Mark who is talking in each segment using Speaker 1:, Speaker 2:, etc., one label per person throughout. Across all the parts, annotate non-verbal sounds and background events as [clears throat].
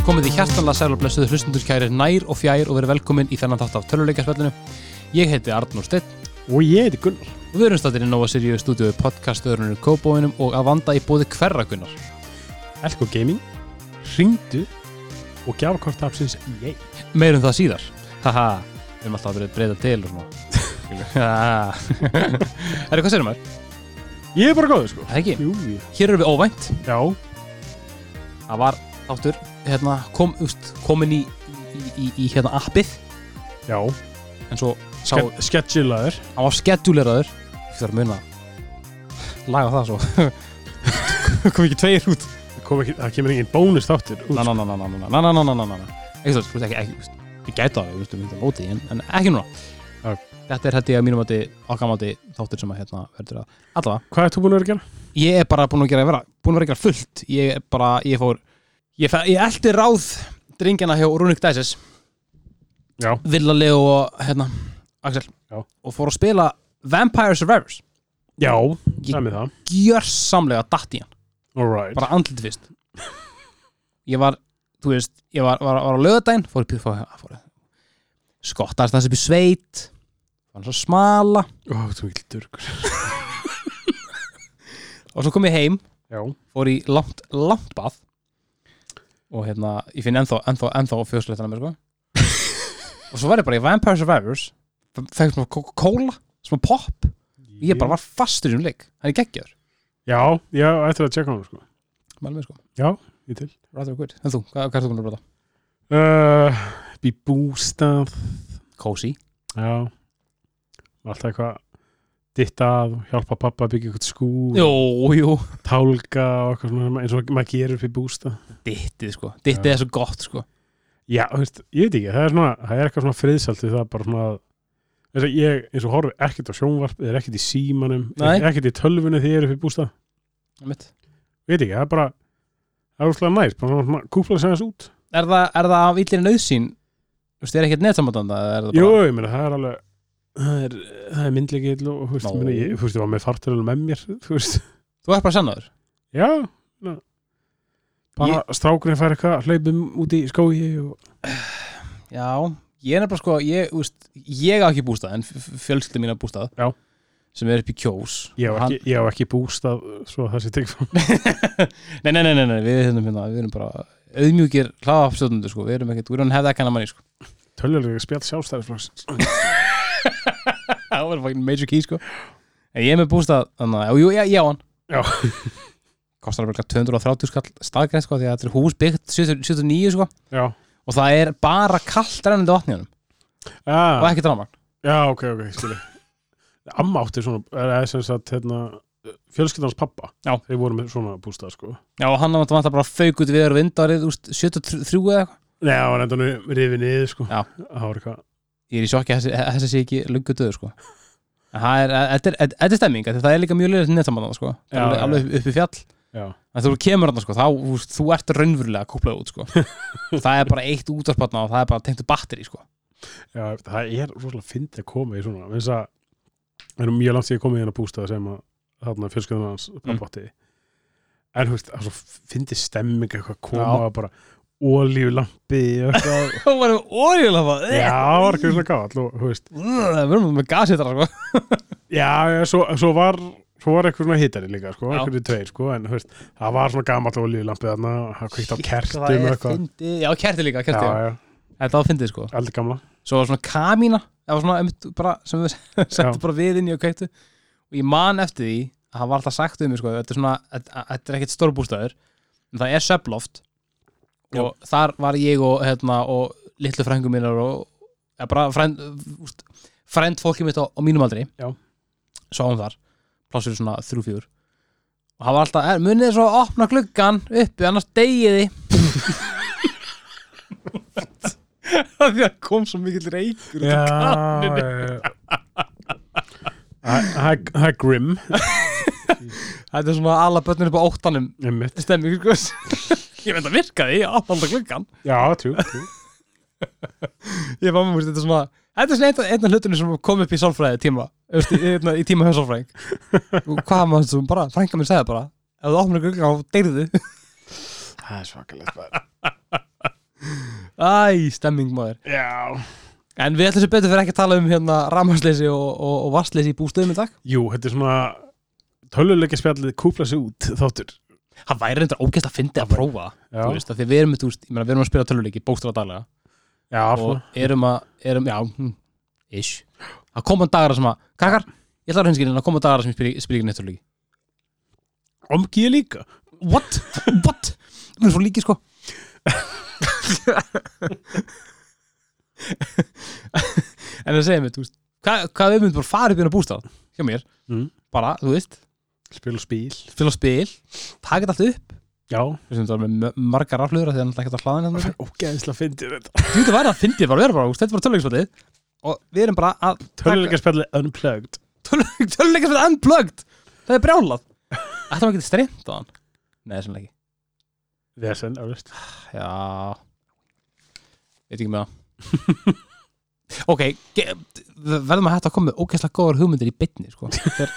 Speaker 1: Hjartanlega sæl og blessuðu hlustundur kærir nær og fjær og verið velkomin í þennan þátt af töluleikaspellinu. Ég heiti Arnur Steinn
Speaker 2: Og ég heiti Gunnar.
Speaker 1: og við erum stættir í Nova Sirius stúdíu podcastöðurinu Kóbóinum og að vanda í bóði hverrakunnar.
Speaker 2: Elko Gaming, Ringdu og E Gjafakortapsins EA.
Speaker 1: Meirum um það síðar. Haha, við erum alltaf að verið breyta til og svona. Haha. Herri, hvað sérum maður?
Speaker 2: Ég er bara góður sko.
Speaker 1: Það ekki.
Speaker 2: Jú, ég-
Speaker 1: Hér erum við óvænt.
Speaker 2: já.
Speaker 1: Það var áttur, hérna, kom, úst, komin í, í, í, í hérna appið,
Speaker 2: Já.
Speaker 1: en svo sá,
Speaker 2: Ske- Schedulaður.
Speaker 1: hann var skeduleraður. Ég þarf að muna að laga það svo. [laughs] kom ekki tveir út.
Speaker 2: Það kom ekki- Það kemur engin bónus þáttir. út,
Speaker 1: na na na
Speaker 2: sko.
Speaker 1: na na na na na na na na na ekki þú veist ekki ekki þú veist, við gæta það við veist við myndum óti en, en ekki núna
Speaker 2: Já.
Speaker 1: þetta er hætti að mínum mati okkar mati þáttir sem að hérna verður að allavega
Speaker 2: Hvað ert þú búin að vera að gera?
Speaker 1: ég er bara búin að gera vera búin að vera að gera fullt ég er bara ég fór ég, fe- ég eldi ráð dringjana hjá Rúnik Dæsis
Speaker 2: Já.
Speaker 1: Villalegu og hérna Axel
Speaker 2: Já.
Speaker 1: og fór að spila Vampire Survivors
Speaker 2: Já,
Speaker 1: Ég-
Speaker 2: það er með það.
Speaker 1: gjörsamlega datt í hann
Speaker 2: Alright.
Speaker 1: bara andlit fyrst ég var, þú veist, ég var, var, var á lögadaginn, fór upp í fór, fór, skottast þess upp í sveit var svo smala
Speaker 2: Ó, þú vil durkur.
Speaker 1: og svo kom ég heim,
Speaker 2: Já.
Speaker 1: fór í langt, langt bað og hérna, ég finn ennþá, ennþá, ennþá fjósleitana mér
Speaker 2: [laughs]
Speaker 1: sko og svo var ég bara í Vampire Survivors fekk smá Coca-Cola, smá pop ég bara var fastur í um leik, hann er geggjaður
Speaker 2: Já, já, eftir að tjekka hann sko.
Speaker 1: mælum við sko,
Speaker 2: Ég til.
Speaker 1: rather good en þú, hvað, hvað er þú búin að brota?
Speaker 2: Uh, Bí bústað.
Speaker 1: Cozy,
Speaker 2: Já. Alltaf eitthvað dittað og hjálpa pappa að byggja eitthvað skúr.
Speaker 1: jú, jú
Speaker 2: tálka og eitthvað svona sem- eins og maður gerir fyrir bústa
Speaker 1: dittið sko, dittið
Speaker 2: Já.
Speaker 1: er svo gott sko
Speaker 2: já, þú veist, ég veit ekki, það er svona það er eitthvað svona friðsalt við það bara svona að þess að ég eins og horfi ekkert á sjónvarp eða ekkert í símanum,
Speaker 1: Nei.
Speaker 2: Nei. ekkert í tölvunni þegar ég er fyrir bústa,
Speaker 1: Einmitt.
Speaker 2: ég veit ekki, það er bara það er úrslega næst, bara svona- svona kúpla sem þess út
Speaker 1: er það, er það af illir nöðsýn Þú veist, er ekkert netsambandanda eða er það
Speaker 2: jú,
Speaker 1: bara...
Speaker 2: ég meina, það er alveg það er, það er myndleiki ill og þú veist,
Speaker 1: Nó.
Speaker 2: no. ég, þú veist, ég var með fartölu með mér, þú veist,
Speaker 1: Þú ert bara sannaður
Speaker 2: já na. bara strákurinn fær eitthvað hlaupum út í skói og
Speaker 1: Já, ég er bara sko ég, þú veist, ég á ekki bústað en fjölskylda mín á bústað
Speaker 2: Já.
Speaker 1: sem er upp í kjós
Speaker 2: ég á
Speaker 1: Og hann-
Speaker 2: ekki, ég á ekki bústað svo að það sé tekið
Speaker 1: nei, nei, nei, nei, nei, við erum, hérna, við erum bara auðmjúkir hlaðafstjóðundur sko. við erum ekkert, við erum hefða ekki hann að
Speaker 2: [laughs]
Speaker 1: manni sko. [laughs]
Speaker 2: Töljulega spjall sjálfstæðisflokksins
Speaker 1: það var fucking major key sko. en ég er með bústað þannig, að- og jú, ég, ég á hann
Speaker 2: Já.
Speaker 1: kostar að 230 skall staðgreð sko, því að þetta er hús byggt 79 sko,
Speaker 2: Já
Speaker 1: og það er bara kallt rennandi vatn í hann og
Speaker 2: ah,
Speaker 1: ekki drama
Speaker 2: Já, ok, ok, skilji [laughs] Amma átti svona, er það sem sagt hérna, fjölskyldans pappa
Speaker 1: Já.
Speaker 2: Þeir voru með svona bústað sko
Speaker 1: Já, og hann vant að bara fauk út við erum vindárið, úst, 73 eða eitthvað.
Speaker 2: Nei, það var enda nú rifið niður sko
Speaker 1: Já.
Speaker 2: Það var eitthvað
Speaker 1: Ég er í sjokki að þessi- að þessi sé ekki lungu döðu, sko. En það er, þetta er, þetta- þetta er stemming, af því það er líka mjög leiðilegt nettamann, sko. Já,
Speaker 2: Já,
Speaker 1: alveg,
Speaker 2: já.
Speaker 1: alveg upp- upp í fjall.
Speaker 2: Já,
Speaker 1: En þú kemur hann, sko, þá, þú, veist, þú ert raunverulega kúplað út,
Speaker 2: [laughs]
Speaker 1: sko. það er bara eitt útvarpanna og það er bara tengt batteri,
Speaker 2: [laughs]
Speaker 1: sko.
Speaker 2: já það er rosalega fyndið að koma í svona Vins að Það er mjög langt sér að koma í hérna bústað sem að þarna fjölskyldans pappa
Speaker 1: Mm.
Speaker 2: átti En þú veist, það er svo fyndið stemming eitthvað að koma og bara olíulampi og
Speaker 1: [laughs]
Speaker 2: eitthvað
Speaker 1: Þá varum orðilega
Speaker 2: Já, það var eitthvað svona gátt og þú veist
Speaker 1: Það verðum með gashittara, sko.
Speaker 2: Já, já, svo, svo var svo var eitthvað svona hittari líka, sko,
Speaker 1: Já.
Speaker 2: eitthvað tveir, sko, en þú veist, það var svona gamall olíulampið þarna, og það kvikt á kertum
Speaker 1: Það er
Speaker 2: eitthvað.
Speaker 1: fyndið. Já, kerti líka, kerti.
Speaker 2: Já,
Speaker 1: Já,
Speaker 2: já,
Speaker 1: Þetta var fyndið, sko.
Speaker 2: aldrei gamla.
Speaker 1: svo var svona kamína það var svona einmitt bara sem við [laughs] settum bara við inn í og kveiktu og ég man eftir því að það var alltaf sagt um mig sko, þetta er svona, þetta- þetta er ekkert stórbústæður en það er söploft og þar var ég og hérna og litlu frængum mínar og ja, bara frænd, úst, frænd fólki mitt á, á mínum aldri
Speaker 2: Já.
Speaker 1: sáum þar, plássur svona þrjú fjúr og það var alltaf, er, munið þið svo að opna gluggan uppi annars degiði [laughs] því að kom svo mikill reykur
Speaker 2: Já, já, já. Það- Það er- það er grim,
Speaker 1: Þetta er svona alla börnir upp á óttanum
Speaker 2: einmitt.
Speaker 1: stemming, sko. ég veit að virka því, ég áfalda gluggan.
Speaker 2: Já, trú, trú.
Speaker 1: Ég var með mér, þetta er svona, þetta er svona einn- einn af hlutunum sem kom upp í sálfræði tíma, veist, í, hérna, í tíma höfnsálfræðing. Og hvað maður sem bara, frænka mér segja bara, ef þú opnar gluggan þá deyrðu.
Speaker 2: Það er svakalegt bara.
Speaker 1: Æ, stemming maður
Speaker 2: Já.
Speaker 1: En við ætlum sem betur fyrir ekki að tala um hérna rámasleysi og, og, og vastleysi í bústöðum í dag
Speaker 2: Jú, þetta er svona töluleika spjallið kúpla sig út þáttur.
Speaker 1: Það væri reyndar ógæst að fyndi að prófa það,
Speaker 2: Já,
Speaker 1: Þú veist, af því við erum, þú veist, ég meina, við erum að spila töluleiki bókstara daglega
Speaker 2: já, svona.
Speaker 1: og erum að, erum, já, hm, ish Það koma dagar sem að, kakar, ég ætla að hinskilin að koma dagar sem ég spila ekki- spila ekki neitt töluleiki
Speaker 2: Omgi ég líka.
Speaker 1: What? What? Við erum svo líki, sko En það segir mér, þú veist Hvað, hvað við myndum bara fara upp í hérna bústað hjá mér,
Speaker 2: Mm.
Speaker 1: bara, þú veist
Speaker 2: Spil og spil.
Speaker 1: spila spil, taka þetta allt upp
Speaker 2: Já.
Speaker 1: við sem þetta var með mö- margar rafluður af því að hann ætla ekkert að hlaða hérna þú
Speaker 2: Ógeðislega fyndir þetta.
Speaker 1: veit að væri að fyndið bara, við erum bara, þú veist, þetta er bara töluleikspallið og við erum bara að
Speaker 2: Töluleika spjallið unplugged.
Speaker 1: töluleikspallið unplugged það er brjálað ætlum að geta streymt á hann nei, sem ekki,
Speaker 2: Vesen, auðvist.
Speaker 1: já veit ekki með það [laughs] ok, ge- við verðum að hætta að koma með ógeðslega góðar hugmyndir í bytni sko. Þegar,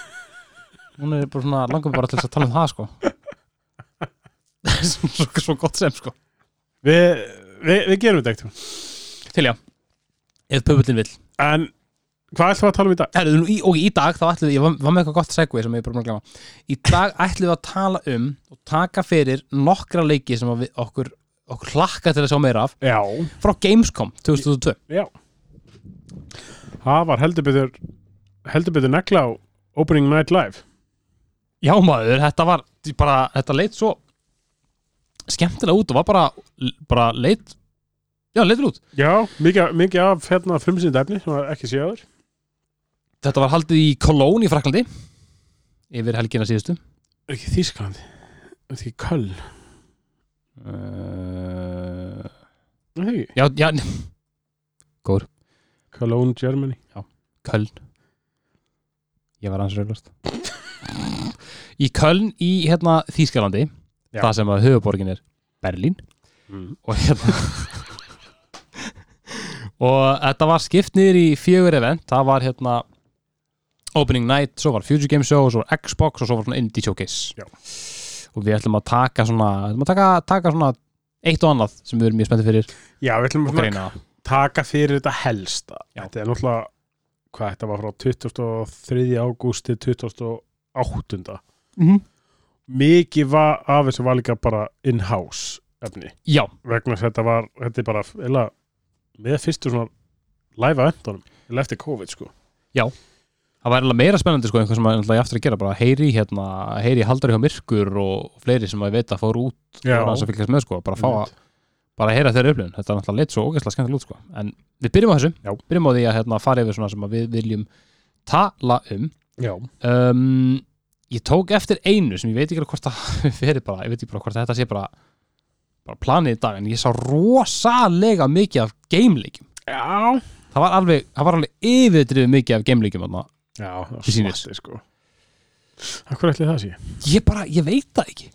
Speaker 1: hún er bara svona langum bara til þess að tala um það sko. [laughs] svo, svo gott sem sko.
Speaker 2: Við, við, við gerum þetta ekkert.
Speaker 1: Til já, ef pöfullin vill
Speaker 2: En hvað ætlum við að tala um í dag?
Speaker 1: Herru, nú í, Og í dag þá ætlum við, ég var, var með eitthvað gott segvi sem ég er bara maður að glemma Í dag ætlum við að tala um og taka fyrir nokkra leiki sem að við, okkur, okkur hlakka til að sjá meira af
Speaker 2: Já.
Speaker 1: frá Gamescom 2002
Speaker 2: Já. Það var heldur betur, heldur betur negla á Opening Night Live.
Speaker 1: Já maður, þetta var bara, þetta leit svo skemmtilega út og var bara, bara leit Já, leit vel út
Speaker 2: Já, mikið, mikið af hérna frumsýnd efni sem var ekki séð áður.
Speaker 1: Þetta var haldið í Cologne í Fraklandi yfir helgina síðustu
Speaker 2: Er ekki Þísklandi? Er ekki Köll?
Speaker 1: uh,
Speaker 2: Er það ekki?
Speaker 1: Já, já,
Speaker 2: Cologne, Germany.
Speaker 1: Köln Ég var aðeins raulast Í Köln í hérna Þýskalandi
Speaker 2: Já.
Speaker 1: Það sem að höfuborgin er Berlín
Speaker 2: Mm.
Speaker 1: og hérna og þetta var skipt niður í fjögur event, það var hérna Opening Night, svo var Future Game Show svo var Xbox og svo var svona Indie Showcase
Speaker 2: Já.
Speaker 1: og við ætlum að taka svona ætlum að taka, taka svona eitt og annað sem við erum mjög spenntið fyrir
Speaker 2: Já, við ætlum
Speaker 1: og
Speaker 2: að
Speaker 1: greina það
Speaker 2: taka fyrir þetta helsta.
Speaker 1: Já.
Speaker 2: Þetta er náttúrulega, hvað þetta var frá 23. ágúst til 28.
Speaker 1: -hmm.
Speaker 2: Mikið var af þessu var líka bara in-house efni.
Speaker 1: Já,
Speaker 2: Vegna þess að þetta var, þetta er bara, eða, með fyrstu svona live eventunum, eða eftir COVID, sko.
Speaker 1: það var eiginlega meira spennandi sko, einhvern sem að ég aftur að gera, bara heyri hérna, heyri haldari hjá myrkur og fleiri sem að ég veit að fóru út
Speaker 2: Já.
Speaker 1: og að fylgjast með sko, bara að fá að bara að heyra þeirra upplifun, þetta er náttúrulega leitt svo ógeðslega skemmtilega út sko, en við byrjum á þessu
Speaker 2: Já.
Speaker 1: byrjum á því að hérna, fara yfir svona sem að við viljum tala um
Speaker 2: Já.
Speaker 1: um, ég tók eftir einu sem ég veit ekki alveg hvort [laughs] það fyrir bara, ég veit ekki bara hvort þetta sé bara bara planið í dag, en ég sá rosalega mikið af geimleikjum
Speaker 2: Já.
Speaker 1: það var alveg, það var alveg yfirdrifið mikið af geimleikjum þarna.
Speaker 2: Já, það
Speaker 1: Til
Speaker 2: var
Speaker 1: sýnis.
Speaker 2: svartir, sko. Akkur ætli það sé?
Speaker 1: ég bara, ég veit það ekki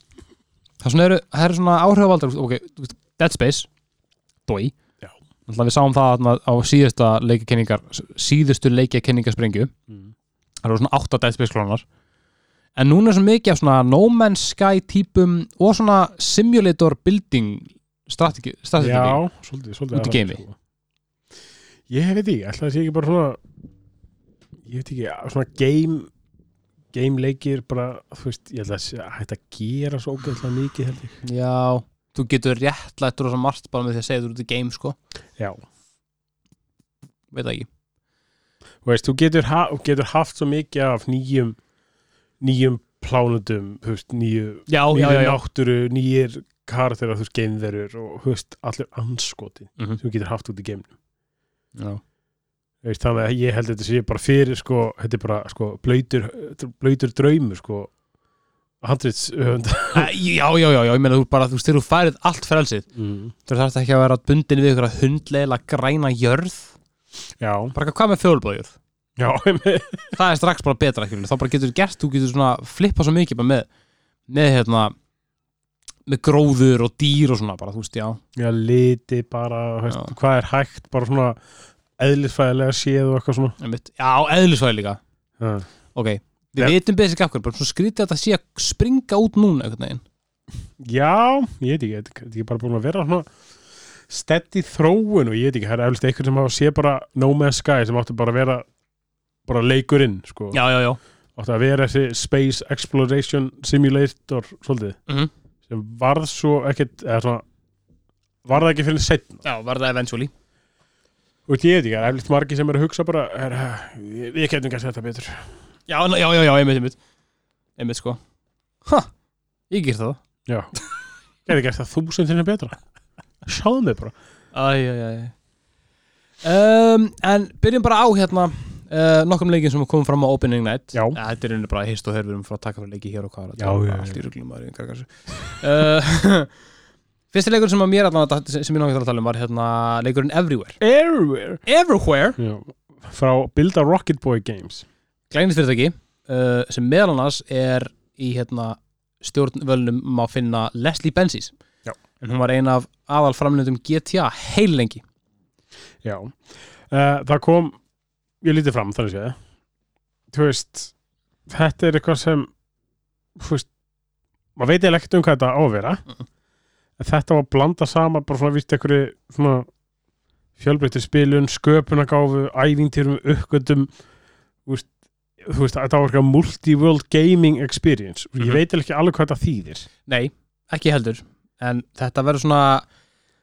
Speaker 1: það er svona, eru, það eru svona áhrifavaldar ok, þú veist, Dead Space Dói
Speaker 2: Já.
Speaker 1: Þannig að við sáum það þarna á síðasta leikakenningar síðustu leikakenningar sprengju
Speaker 2: Mm.
Speaker 1: það eru svona 8 Dead Space klonar en núna er svo mikið af svona No Man's Sky típum og svona simulator building strategi, strategi
Speaker 2: Já, svolítið, svolítið
Speaker 1: Út í
Speaker 2: aðra,
Speaker 1: geimi.
Speaker 2: sko. Ég veit ekki, alltaf það sé ekki bara svona ég veit ekki, svona game game leikir bara, þú veist, ég held að sé- hægt að gera svo ógæðslega mikið held ég
Speaker 1: Já, þú getur réttlættur og svo margt bara með því að segja þú út í game sko
Speaker 2: Já,
Speaker 1: veit það ekki
Speaker 2: þú veist, þú getur, ha þú getur haft svo mikið af nýjum nýjum plánutum, þú veist, nýju
Speaker 1: Já,
Speaker 2: nýjum náttúru, nýjir karakterar, þú veist, geimverur og, þú veist, allir anskoti
Speaker 1: Mhm.
Speaker 2: sem þú getur haft út í geimnum
Speaker 1: já.
Speaker 2: Þú veist, þannig að ég held að þetta sé bara fyrir sko, þetta er bara sko, blöytur, blöytur draumur sko, handrits öfunda
Speaker 1: Æ, já, já, já, já, ég meina þú bara, þú veist, þegar þú færið allt frelsið
Speaker 2: mm.
Speaker 1: þú þarfst ekki að vera bundin við ykkur að hundleila græna jörð
Speaker 2: já,
Speaker 1: bara eitthvað, hvað með fjólblóðjörð
Speaker 2: já [laughs] einmitt.
Speaker 1: það er strax bara betra ekki þá bara getur þú gert, þú getur svona flippa svo mikið bara með, með hérna með gróður og dýr og svona bara, þú veist, já,
Speaker 2: já, liti bara
Speaker 1: Já.
Speaker 2: þú veist, hvað er hægt, bara svona eðlisfæðilega séð og eitthvað svona
Speaker 1: einmitt, já, eðlisvæði líka
Speaker 2: ja.
Speaker 1: ok, við
Speaker 2: Já.
Speaker 1: vitum betur ekki af hverju bara svona skrítið að það sé að springa út núna einhvern veginn
Speaker 2: já, ég veit ekki, þetta er ekki bara búin að vera svona steddi þróun og ég veit ekki, það er eflust eitthvað sem hafa sé bara No Man's Sky sem átti bara að vera bara leikurinn, sko
Speaker 1: já, já, já
Speaker 2: átti að vera þessi Space Exploration Simulator, svolítið
Speaker 1: Mhm.
Speaker 2: sem varð svo ekkert eða svona, varð ekki fyrir setna
Speaker 1: Já, verða eventually
Speaker 2: og ég veit ekki, það er eflust margi sem eru að hugsa bara, er, ég, ég getum kannski þetta betur
Speaker 1: Já, já, já, já, einmitt, einmitt Einmitt, sko Ha, ég gert það
Speaker 2: [laughs] já, getum kannski það þúsund sinni betra sjáðu mig bara
Speaker 1: Æ, æ, æ um, En byrjum bara á hérna uh, nokkrum leikin sem komum fram á Opening Night
Speaker 2: Já.
Speaker 1: Eh, Þetta er einu bara hist og hörfum frá að taka fyrir leiki hér og hvað
Speaker 2: Já, já, já.
Speaker 1: Allt í ruglum maður í einhverjum karkassu uh, [laughs] Fyrsti leikur sem að mér allan datt- sem ég náttúrulega að tala um var hérna leikurinn Everywhere
Speaker 2: Everywhere
Speaker 1: Everywhere
Speaker 2: já, frá Build a Rocket Boy Games
Speaker 1: Glænisfyrirtæki uh, sem meðal annars er í hérna stjórnvölnum má finna Leslie Benzies
Speaker 2: Já.
Speaker 1: en hún var ein af aðal framlöndum GTA heil lengi
Speaker 2: Já, uh, það kom ég lítið fram þannig séð þú veist, þetta er eitthvað sem þú veist maður veit eiginlega ekkert um hvað þetta á að vera en þetta var að blanda sama bara svona víst einhverju svona fjölbreyttir spilun, sköpunagáfu ævintýrum, uppgöndum þú veist, þú veist, þetta var eitthvað multi-world gaming experience ég
Speaker 1: Mhm.
Speaker 2: veit eiginlega ekki alveg hvað þetta þýðir
Speaker 1: Nei, ekki heldur en þetta verður svona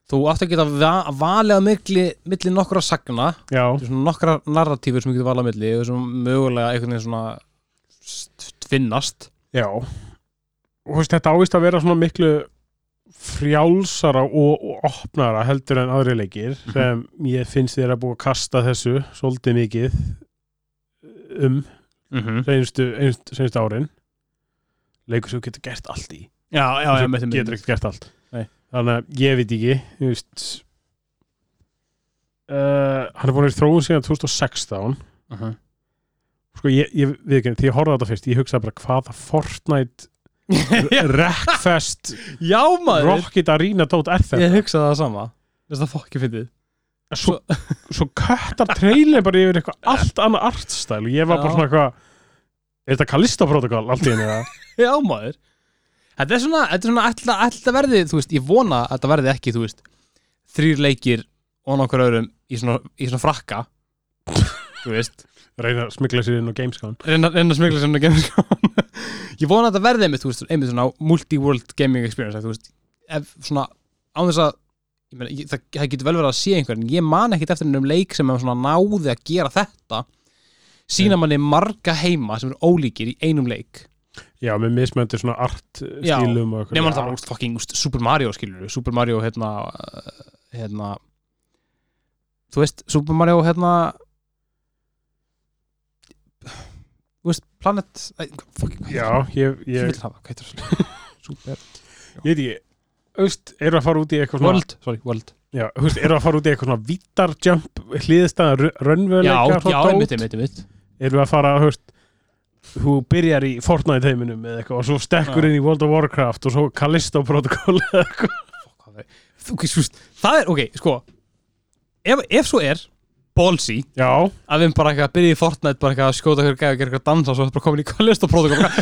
Speaker 1: þú átt að geta va- valið á milli, milli nokkra sagna
Speaker 2: Já,
Speaker 1: þetta er svona nokkra narratífur sem þú getur valið á milli og svona mögulega einhvern veginn svona st- tvinnast
Speaker 2: Já og þú veist, þetta ávist að vera svona miklu frjálsara og, og opnara heldur en aðri leikir
Speaker 1: Mhm.
Speaker 2: sem ég finnst þér að búa að kasta þessu svolítið mikið um
Speaker 1: mm -hmm.
Speaker 2: seinustu, einst- seinustu árin leikur sem þú getur gert allt í
Speaker 1: Já, já, já,
Speaker 2: sem
Speaker 1: með þeim
Speaker 2: getur ekkert gert allt
Speaker 1: Nei.
Speaker 2: þannig að ég veit ekki þú veist
Speaker 1: Eh,
Speaker 2: Uh, hann er búin að vera í þróun síðan 2016
Speaker 1: uh -huh.
Speaker 2: sko ég, ég við ekki, því ég horfði á þetta fyrst ég hugsaði bara hvaða
Speaker 1: [laughs]
Speaker 2: Fortnite Wreckfest
Speaker 1: Já, maður
Speaker 2: Rocket Arena dót er þetta
Speaker 1: Ég hugsaði það sama Þess að fokki fyndið [laughs]
Speaker 2: svo, svo köttar trailin bara yfir eitthvað allt annað artstæl og ég var bara
Speaker 1: Já.
Speaker 2: svona eitthvað er þetta Kalista protokol allt í henni eða
Speaker 1: Já maður Þetta er svona, þetta er svona alltaf, alltaf verði þú veist, ég vona að þetta verði ekki, þú veist þrýr leikir og nokkur öðrum í svona, í svona frakka þú veist,
Speaker 2: reyna að smigla sér inn á Gamescom
Speaker 1: reyna, reyna að smigla sem gameskon [laughs] Ég vona að þetta verði einmitt, þú veist, einmitt svona multi-world gaming experience, þú veist ef svona, án þess að ég meina, ég, það, það getur vel verið að sé einhver en ég man ekkit eftir einum leik sem er svona náði að gera þetta sína manni marga heima sem eru ólíkir í einum leik
Speaker 2: já, með mismöndir svona art uh,
Speaker 1: Já,
Speaker 2: stílum og
Speaker 1: Nefnum
Speaker 2: Já,
Speaker 1: það var fucking úst, Super Mario skilur við Super Mario hérna uh, hérna þú veist Super Mario hérna þú veist Planet æ, fucking hvað
Speaker 2: já,
Speaker 1: heitir það?
Speaker 2: ég,
Speaker 1: Ég
Speaker 2: ég,
Speaker 1: vil hafa, hvað heitir það? [laughs] Super
Speaker 2: ég veit ekki Öst, eru að fara út í eitthvað svona
Speaker 1: World, sorry, World
Speaker 2: já, þú veist, eru að fara út í eitthvað svona vittarjump hliðstæðan
Speaker 1: Já,
Speaker 2: rönnvöleika
Speaker 1: já, einmitt, einmitt, einmitt
Speaker 2: eru að fara þú veist, þú byrjar í Fortnite heiminum eða eitthvað og svo stekkur
Speaker 1: Já.
Speaker 2: inn í World of Warcraft og svo Callisto Protocol [laughs] eða eitthvað
Speaker 1: Fuck, hvað er- Þú veist, þú veist, það er, ok, sko ef, ef svo er ballsy
Speaker 2: Já,
Speaker 1: að við bara eitthvað að byrja í Fortnite bara eitthvað að skjóta hverju gæði og gera eitthvað dansa og svo er bara komin í [laughs] Callisto protokol bara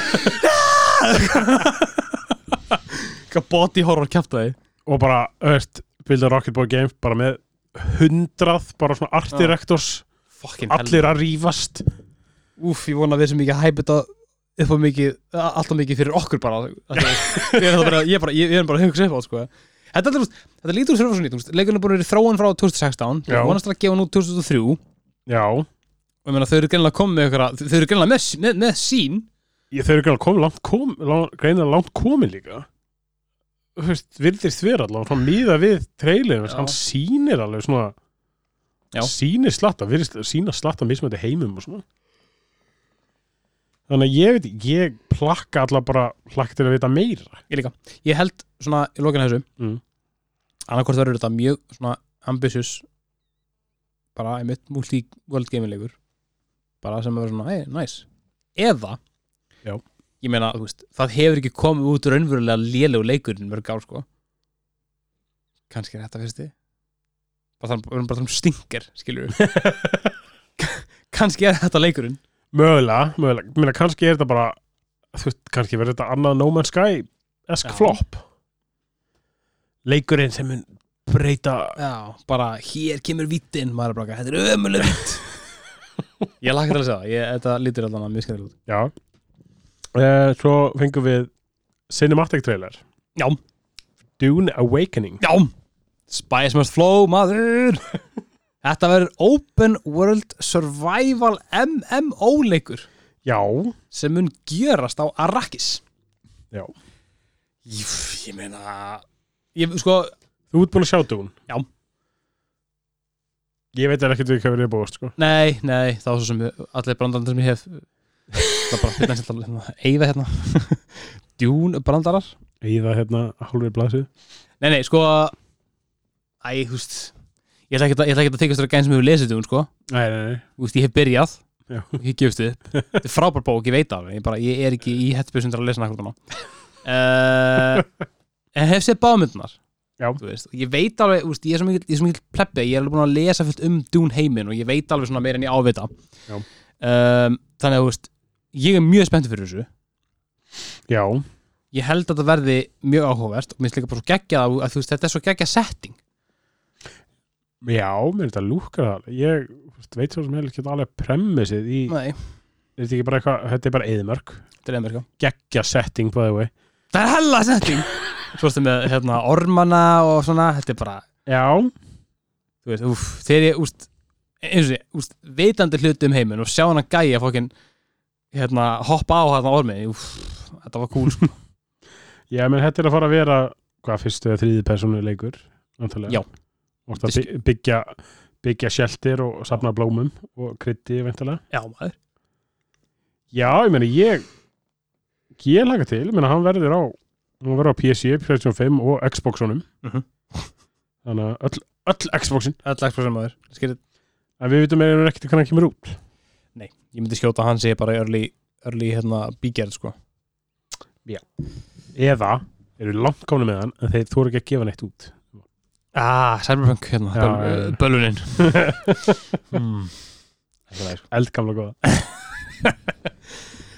Speaker 1: eitthvað body horror kjæft að
Speaker 2: og bara, öðvist, Build a Rocket Boy Games bara með hundrað bara svona art
Speaker 1: Já.
Speaker 2: directors
Speaker 1: því fucking
Speaker 2: allir að rífast
Speaker 1: úf, ég vona að við sem ekki að hæpa þetta upp á mikið, a- alltaf mikið fyrir okkur bara Af því að ég er þetta bara, ég er bara, ég ég er bara að hugsa upp á þetta, sko þetta, er, þú veist, þetta lítur þurfa svo nýtt, þú veist, leikurinn er búin að vera í þróun frá 2016,
Speaker 2: Já.
Speaker 1: ég vonast að gefa nú 2003 og
Speaker 2: Já,
Speaker 1: ég meina þau eru greinlega komið með ykkur þau eru greinlega með, með, með sín
Speaker 2: ég, þau eru greinilega komin langt, kom, langt, greinilega langt komin líka Þú veist, virðist vera allavega svona mýða við trailerinn,
Speaker 1: Já.
Speaker 2: hann sýnir alveg svona
Speaker 1: Já.
Speaker 2: sýnir slatta, virðist sýna slatta mismöndi heimum og svona Þannig að ég veit, ég plakka allavega bara plakka til að vita meira
Speaker 1: ég líka, ég held svona í lokinu þessu
Speaker 2: Mm.
Speaker 1: annarkvort verður þetta mjög svona ambitious bara einmitt multi-world gaming-leikur bara sem verður svona, hey, nice eða
Speaker 2: Já.
Speaker 1: ég meina, þú veist, það hefur ekki komið út raunverulega lélegu leikurinn mörg ár sko kannski er þetta fyrsti bara þannig, verðum bara þannig stinker, skilur
Speaker 2: [laughs]
Speaker 1: við kannski er þetta leikurinn
Speaker 2: Mögulega, mögulega, Mér meina kannski er þetta bara þú veist, kannski verður þetta annað No Man's Sky esk
Speaker 1: Já.
Speaker 2: flop leikurinn sem mun breyta
Speaker 1: Já, bara hér kemur vittin maður er bara, eitthvað, þetta er ömuleg vitt [laughs] Ég lakka til að segja það, ég, þetta lítur allan að mjög skemmtilega út
Speaker 2: Já uh, Svo fengum við cinematic trailer
Speaker 1: Já.
Speaker 2: Dune Awakening
Speaker 1: Já, Spice Must Flow, maður [laughs] Þetta verður Open World Survival MMO-leikur
Speaker 2: Já
Speaker 1: sem mun gjörast á Arrakis
Speaker 2: Já.
Speaker 1: Ég, ég meina ég, sko,
Speaker 2: Þú ert búin að sjá Dune
Speaker 1: Já.
Speaker 2: Ég veit ekki hvað verið búist sko
Speaker 1: nei, nei þá svo sem ég- allir brandarinn sem ég hef [laughs] það er bara fyrir næst að eyða hérna [laughs] djún brandarar
Speaker 2: Íða hérna hálfur blasið
Speaker 1: nei, nei, sko æ, þú veist ég ætla ekki að, ég ætla ekki að tekja störa gæn sem hefur lesið djún, sko
Speaker 2: Nei, nei, nei
Speaker 1: þú veist, ég hef byrjað
Speaker 2: Já.
Speaker 1: ég gefst
Speaker 2: [laughs]
Speaker 1: upp, þetta er frábær bók, ég veit af ég, bara, ég er ekki í hettbjörnsundar að lesa hann akkur uh, en hef séð bámyndunar
Speaker 2: Já.
Speaker 1: ég veit alveg, úst, ég er svo mikill, ég er svo mikill plebbi, ég er alveg búin að lesa fullt um Dune heiminn og ég veit alveg svona meira en ég ávita
Speaker 2: Já.
Speaker 1: um, þannig að þú veist, ég er mjög spenntið fyrir þessu
Speaker 2: Já,
Speaker 1: ég held að þetta verði mjög áhugavert og mér finnst líka bara svo geggjað að, að þú veist, þetta er svo geggjað setting
Speaker 2: já, mér er þetta lúkar það alveg. Ég þú veist, veit svo sem hefur ekki alveg premissið í,
Speaker 1: nei,
Speaker 2: er þetta ekki bara eitthvað, þetta er bara eðmörk
Speaker 1: þetta er einhver
Speaker 2: Geggja setting by the way
Speaker 1: það er hella setting svo erstu með hérna, ormana og svona, þetta er bara
Speaker 2: Já,
Speaker 1: þú veist, úf, þegar ég, úst eins og ég, úst, veitandi hluti um heiminn og sjá hann að gæja fókin hérna, hoppa á hérna ormið úf, þetta var cool, sko
Speaker 2: Já, menn þetta er að fara að vera hvað fyrstu eða þriði persónu leikur
Speaker 1: Já.
Speaker 2: Og það by- byggja byggja sjeltir og safna blómum og krytti veintilega
Speaker 1: [laughs] já maður,
Speaker 2: Já, ég meina ég ég laka til, ég meina hann verður á hann verður á PC, PS5 og Xboxunum
Speaker 1: Mhm.
Speaker 2: Þannig að öll, öll Xboxin
Speaker 1: öll ekspressum maður Skerið,
Speaker 2: en við vitum meður ekkert hvernig hann kemur út
Speaker 1: nei, ég myndi skjóta að hann sé bara í örli, örli hérna, bígerð, sko
Speaker 2: eða eru langt komni með hann en þeir þú ekki að gefa neitt [laughs] út
Speaker 1: ah, Cyberpunk, hérna,
Speaker 2: Já,
Speaker 1: böl,
Speaker 2: já, já.
Speaker 1: bölunin [laughs] mm. ekki leið, sko
Speaker 2: Eldgamla góða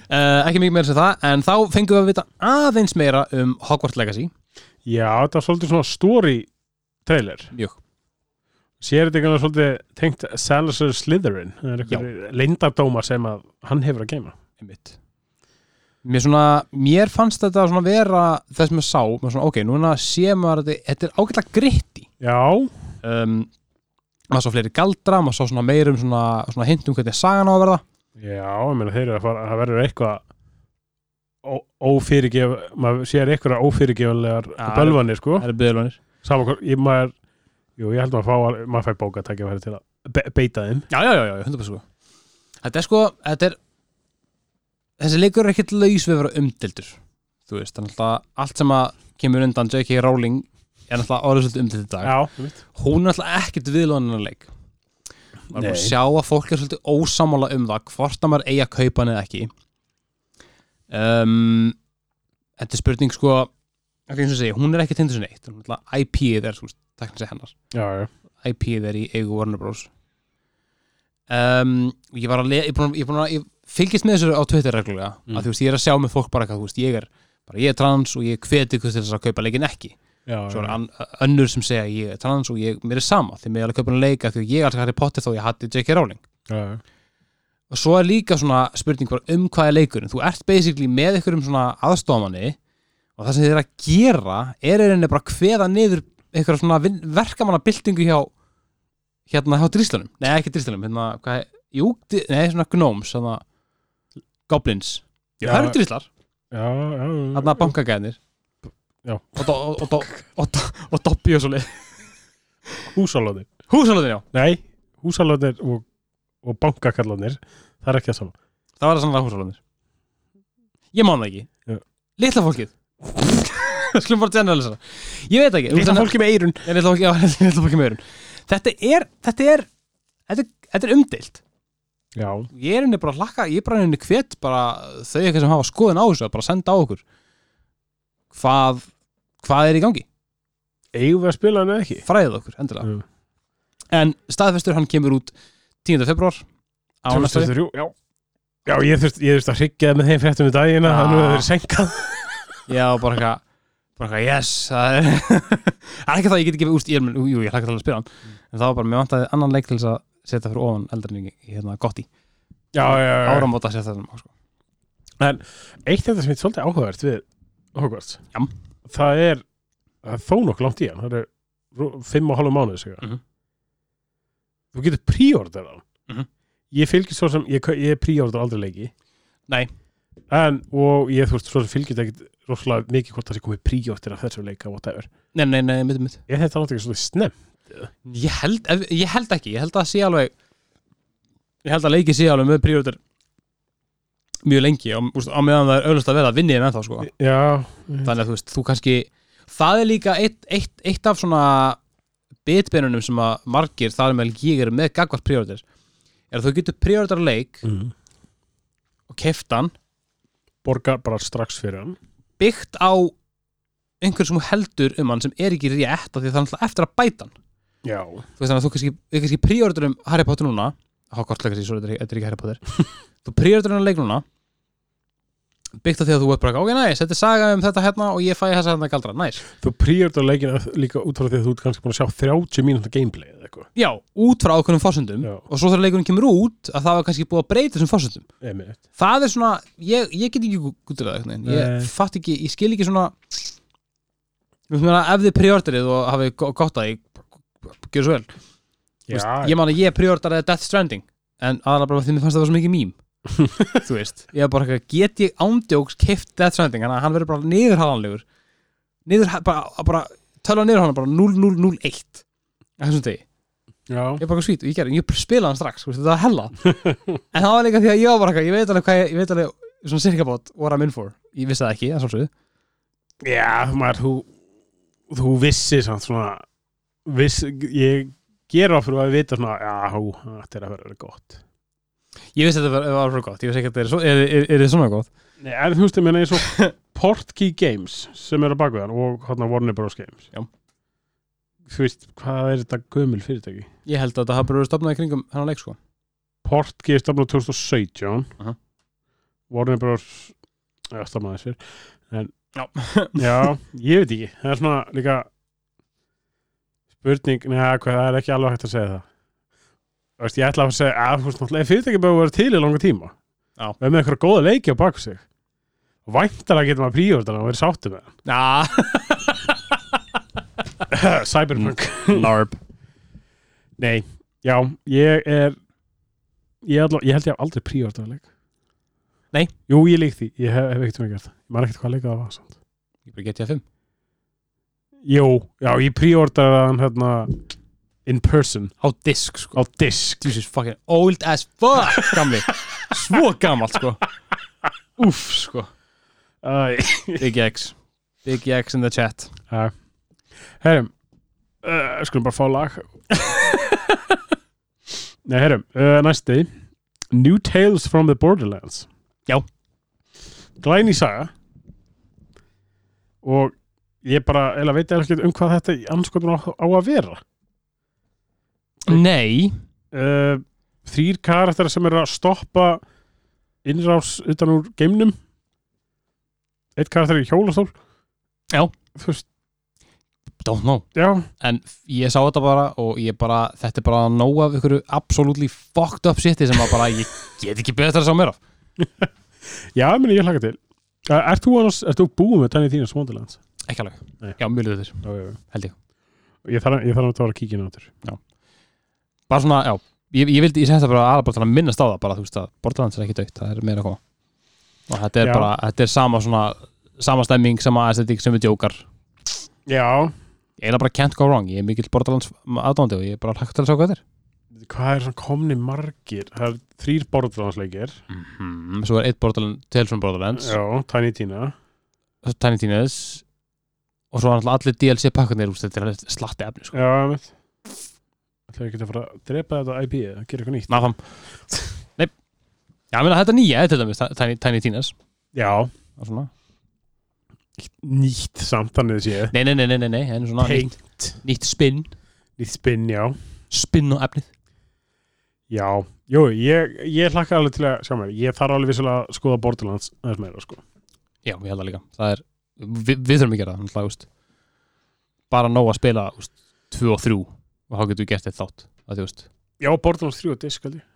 Speaker 1: Uh, ekki mikið meira sem það, en þá fengum við að vita aðeins meira um Hogwarts Legacy
Speaker 2: Já, þetta var svolítið svona story trailer
Speaker 1: Mjög.
Speaker 2: Sér þetta eitthvað svolítið tengt Salazar Slytherin Það er eitthvað leyndardóma sem að hann hefur að geima
Speaker 1: einmitt mér, svona, mér fannst þetta svona vera þess með sá, maður svona, ok, núna sé maður að þetta, þetta er ágætlega gritti
Speaker 2: Já,
Speaker 1: um, maður sá fleiri galdra, maður sá svona meir um svona, svona hint um hvernig sagan á að verða
Speaker 2: já, ég meina þeir eru að fara Það verður eitthvað ó- ófyrirgef, maður sér eitthvað ófyrirgefanlegar
Speaker 1: Já,
Speaker 2: bölvanir sko
Speaker 1: það eru byðlunir
Speaker 2: Sama hvort, ég maður Jú, ég held maður að fá, maður fær bóka að til að be- beita þeim
Speaker 1: já, já, já, já, 100% sko. þetta er sko, þetta er þessi leikur er ekkert laus við að vera umdildur þú veist, þannig að allt sem að kemur undan J.K. Rowling er náttúrulega orðið svolítið umdildur í dag
Speaker 2: Já,
Speaker 1: hún er alltaf ekkert viðlóðanleik maður er búin að
Speaker 2: Nei.
Speaker 1: sjá að fólk er svolítið ósamála um það hvort að maður eigi að kaupa hann eða ekki um, þetta er spurning sko ekki eins og segja, hún er ekki tindur sinni eitt IP-ið er svolítið, teknins er hennar
Speaker 2: já, já
Speaker 1: IP-ið er í eigu Warner Bros um, ég var að le- ég, búin, að- ég, búin að, ég fylgist með þessu á Twitter reglulega
Speaker 2: Mm.
Speaker 1: að þú veist, ég er að sjá með fólk bara eitthvað, þú veist, ég er bara ég er trans og ég hveti ykkur til þess að kaupa leikin ekki
Speaker 2: Já,
Speaker 1: svo er
Speaker 2: já,
Speaker 1: an, önnur sem segja ég er trans og ég, mér er sama því mér er alveg köpunum leika því ég er alltaf Harry Potter þó ég hatti J.K. Rowling
Speaker 2: já, já.
Speaker 1: og svo er líka svona spurning bara um hvað er leikurinn þú ert basically með einhverjum svona aðstofamanni og það sem þið er að gera er einhverjum bara að kveða niður einhverja svona vin, verkamannabildingu hjá hérna hjá dríslunum nei ekki dríslunum, hérna hvað er jú, di- nei svona gnóms, svona goblins, já,
Speaker 2: Já.
Speaker 1: það eru dríslar
Speaker 2: já, já, já.
Speaker 1: hérna bankagæðinir
Speaker 2: Já.
Speaker 1: og, do, og, og, og, og, og, og doppi og svo leið
Speaker 2: Húsalóðir
Speaker 1: húsalöðin já
Speaker 2: Nei, húsalóðir og, og bankakallanir Það er ekki að sama
Speaker 1: Það var það sannlega húsfólunir Ég man það ekki
Speaker 2: Já.
Speaker 1: Litla fólkið [laughs] Skulum bara generalisa Ég veit ekki
Speaker 2: Lítið fólki með eirun
Speaker 1: Nei, litla fólki, já, [laughs] litla fólki með örum Þetta er, þetta er Þetta er, þetta er umdeilt
Speaker 2: Já,
Speaker 1: Ég er henni bara að lakka, ég er bara henni hvet bara þau eitthvað sem hafa skoðun á þessu að bara senda á okkur Hvað Hvað er í gangi?
Speaker 2: eigum við að spila hann eða ekki
Speaker 1: Fræðið okkur, endilega
Speaker 2: Mm.
Speaker 1: En staðfestur, hann kemur út 10. februar á næsta ári.
Speaker 2: 2023, já Já, ég þurft, ég þurft að hryggja með þeim fréttum í dagina
Speaker 1: Ah.
Speaker 2: Þannig að það er senkað
Speaker 1: Já, bara eitthvað bara eitthvað, yes það er, [laughs] það er ekki það að ég get ekki úst í elmun jú, ég hlakka til að spila hann en það var bara, mér vantaði annan leik til þess að setja fyrir ofan eldrinni í hérna gott í
Speaker 2: já, já, já, já.
Speaker 1: áramóta setja þessum sko.
Speaker 2: Eitt þetta sem er svolítið áhugavert við Hogwarts
Speaker 1: Já.
Speaker 2: það er, það er þó nokk langt í hann það er rú- fimm og halvum mánuð segja.
Speaker 1: Mhm.
Speaker 2: þú getur príorder hann
Speaker 1: Mhm.
Speaker 2: ég fylgir svo sem ég, kau- ég príorder aldrei leiki
Speaker 1: Nei.
Speaker 2: en, og ég þú veist svo sem fylgir ekki rosalega mikið hvort það sé komið príorder af þessu leika whatever.
Speaker 1: nei, nei, nei, mitt, mitt
Speaker 2: ég þetta náttúrulega svolítið snem
Speaker 1: ég held, ef- ég held ekki, ég held að það sé alveg ég held að leiki sé alveg með príordur mjög lengi og úst, á meðan það er auðvitað að vera að vinni þeim ennþá sko.
Speaker 2: já,
Speaker 1: þannig að þú veist, þú kannski það er líka eitt, eitt, eitt af svona bitbeinunum sem að margir þar með ég er með gagvart príordur er að þú getur príordur leik
Speaker 2: mm.
Speaker 1: og keftan
Speaker 2: borga bara strax fyrir hann
Speaker 1: byggt á einhver sem þú heldur um hann sem er ekki rétt af því að það er alltaf eftir að bæta hann
Speaker 2: já,
Speaker 1: þú veist þannig að þú kannski, við kannski príordur um Harry Potter núna Hogwarts legacy, sorry, þetta er ekki- þetta er ekki Harry Potter þú príordur um leik núna byggt á því að þú veit bara ok, næs, þetta er saga um þetta hérna og ég fæ þessa hérna galdra, næs
Speaker 2: þú príorder leikina líka út frá því að þú ert kannski búin að sjá 30 mínúta gameplay eða eitthvað
Speaker 1: já, út frá ákveðnum fórsöndum
Speaker 2: Já.
Speaker 1: og svo þegar leikurinn kemur út að það var kannski búið að breyta þessum fórsöndum
Speaker 2: Einmitt.
Speaker 1: það er svona, ég, ég get ekki gútilega einhvern veginn,
Speaker 2: Nei.
Speaker 1: ég fatt ekki, ég skil ekki svona Þú veist meina, ef þið priorderið og hafið go- gott að því gjör svo vel, Þú
Speaker 2: já,
Speaker 1: veist, ég man að ég priorderið Death Stranding en aðalega bara því mér fannst það var svo mikið
Speaker 2: [laughs]
Speaker 1: mím þú veist, ég er bara ekki að get ég ándjóks keift Death Stranding, þannig að hann verður bara niðurhalanlegur niður, bara, bara tölva niðurhalan bara 0001 á þessum degi
Speaker 2: já.
Speaker 1: ég er bara svít og ég gerði, ég spilaði hann strax þú veist, þetta var hella en það var líka því að ég var bara eitthvað, ég veit alveg hvað ég, ég veit alveg svona cirka bát what I'm in for ég vissi það ekki, það svolsögðu
Speaker 2: Já, maður, þú, þú vissir samt svona, viss, ég ger á fyrir að vita svona, já, hú, þetta er að vera gott.
Speaker 1: ég vissi þetta var, var svo gott, ég vissi ekki að þetta er, er, er, er, er svona gott
Speaker 2: Nei, en þú veist, ég meina eins og Portkey Games sem eru á baku þann og hérna Warner Bros. Games.
Speaker 1: Já.
Speaker 2: Þú veist, hvað er þetta gömul fyrirtæki?
Speaker 1: ég held að þetta hafa bara verið stopnað í kringum hennar leik sko
Speaker 2: Portkey er stafnað 2017.
Speaker 1: Aha.
Speaker 2: Warner Bros. Já, stafnað þessir. En,
Speaker 1: Já.
Speaker 2: [laughs] já, ég veit ekki. Það er svona líka spurning, neða, hvað, það er ekki alveg hægt að segja það. Þú veist, ég ætla að segja að, þú veist, náttúrulega, fyrirtæki búið að vera til í langa tíma.
Speaker 1: Já.
Speaker 2: Við erum með einhverja góða leiki á baku sig. Væntalega getum að príjórdan og verið
Speaker 1: [clears throat]
Speaker 2: sáttu með það. Cyberpunk.
Speaker 1: Narb
Speaker 2: Nei, já, ég er ég, alveg, ég held ég hef aldrei príordaði leik
Speaker 1: Nei.
Speaker 2: Jú, ég leik því, ég hef, hef ekkert um að gert það Ég man ekkert hvað leikað það var samt
Speaker 1: ég bara getið að fimm
Speaker 2: Jú, já, ég príordaði hann hérna in person,
Speaker 1: á disk sko
Speaker 2: á disk
Speaker 1: Jesus fucking old as fuck gamli svo gamalt sko uff sko
Speaker 2: Æ,
Speaker 1: Big X Big X in the chat
Speaker 2: Herrum uh, Skulum bara fá
Speaker 1: [laughs]
Speaker 2: lag Nei, herrum, uh, næsti New Tales from the Borderlands
Speaker 1: Já.
Speaker 2: Glæni saga Og ég bara, eða veit eða ekki um hvað þetta í anskotum á, á að vera
Speaker 1: nei
Speaker 2: uh, Þrýr karakterar sem eru að stoppa innrás utan úr geimnum Eitt karakter í hjólastól
Speaker 1: Já.
Speaker 2: Þú veist,
Speaker 1: don't know
Speaker 2: já
Speaker 1: en f- ég sá þetta bara og ég bara þetta er bara að nóg af ykkur absolutely fucked up shiti sem að bara ég get ekki betra að sá mér af
Speaker 2: Já, ég meni, ég hlaka til. Uh, ert þú, annars, ert þú búið með Tiny Tina's Wonderlands?
Speaker 1: ekki alveg,
Speaker 2: Nei.
Speaker 1: já mjög liður
Speaker 2: Já, já, já.
Speaker 1: Held ég.
Speaker 2: Ég þarf, ég þarf að vera að kíkja inn á þér.
Speaker 1: bara svona, já, ég, ég vildi, ég segi þetta bara aðra bara til að minnast á það, bara þú veist að Borderlands er ekki dögt, það er meira að koma og þetta er
Speaker 2: Já.
Speaker 1: bara, þetta er sama svona sama stemming, sama aesthetic, sem við djókar
Speaker 2: Já.
Speaker 1: ég er bara can't go wrong, ég er mikill Borderlands aðdóndi og ég er bara hægt til að sjá hvað þetta er
Speaker 2: Hvað er svona komni margir? Það er þrýr borðlansleikir.
Speaker 1: svo er eitt Borderlands, Tales from Borderlands
Speaker 2: Mhm. Já, Tiny Tina.
Speaker 1: Tiny Tina's og svo er náttúrulega allir DLC pakkanir úst, þetta er slatti efni, sko,
Speaker 2: Já, ég veit. Það er ekki að fara að drepa þetta IP eða gera eitthvað nýtt.
Speaker 1: náfam nei, já, ég meina þetta er nýja til dæmis, Tiny, Tiny Tina's
Speaker 2: Já.
Speaker 1: og svona.
Speaker 2: Nýtt samt þannig þessi ég.
Speaker 1: nei, nei, nei, nei, nei, nei, en svona nýtt,
Speaker 2: Paint.
Speaker 1: nýtt spinn
Speaker 2: Nýtt spinn, já.
Speaker 1: spinn á efnið
Speaker 2: Já. Jú, ég, ég hlakka alveg til að, sjá mér, ég þarf alveg vissulega að skoða Borderlands aðeins meira, sko.
Speaker 1: Já, ég held það líka Það er, Vi, við þurfum að gera það, náttúrulega, úst. bara nóg að spila úst, 2 og 3 og þá getum við gert eitt þátt að því, úst,
Speaker 2: Já, Borderlands 3 og disk, held ég.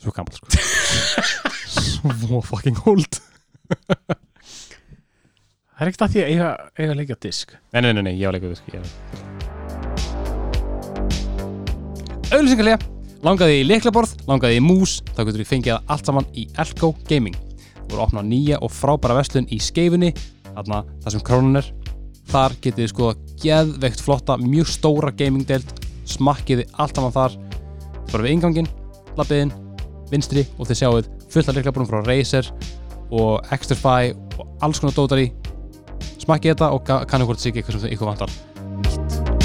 Speaker 1: svo gammal sko. svo fucking old
Speaker 2: [laughs] Það er ekkert að því að eiga, eiga leikja disk.
Speaker 1: Nei, nei, nei, nei, ég var leikur viski Auðlýsingarlega Langaði í leiklaborð, langaði í mús Þá getur við fengið það allt saman í Elko Gaming Þú voru opnað nýja og frábæra verslun í skeifunni Þarna, það sem krónan er Þar getið þið skoða geðveikt flotta Mjög stóra gamingdeild Smakkiði allt saman þar Bara við ingangin, labbiðin, vinstri Og þið sjáuð fullt af leiklaborðum frá Razer Og Extrafy Og alls konar dótar í smakkið þetta og ga- kannu hvort það sé ekki eitthvað sem þau ykkur vantar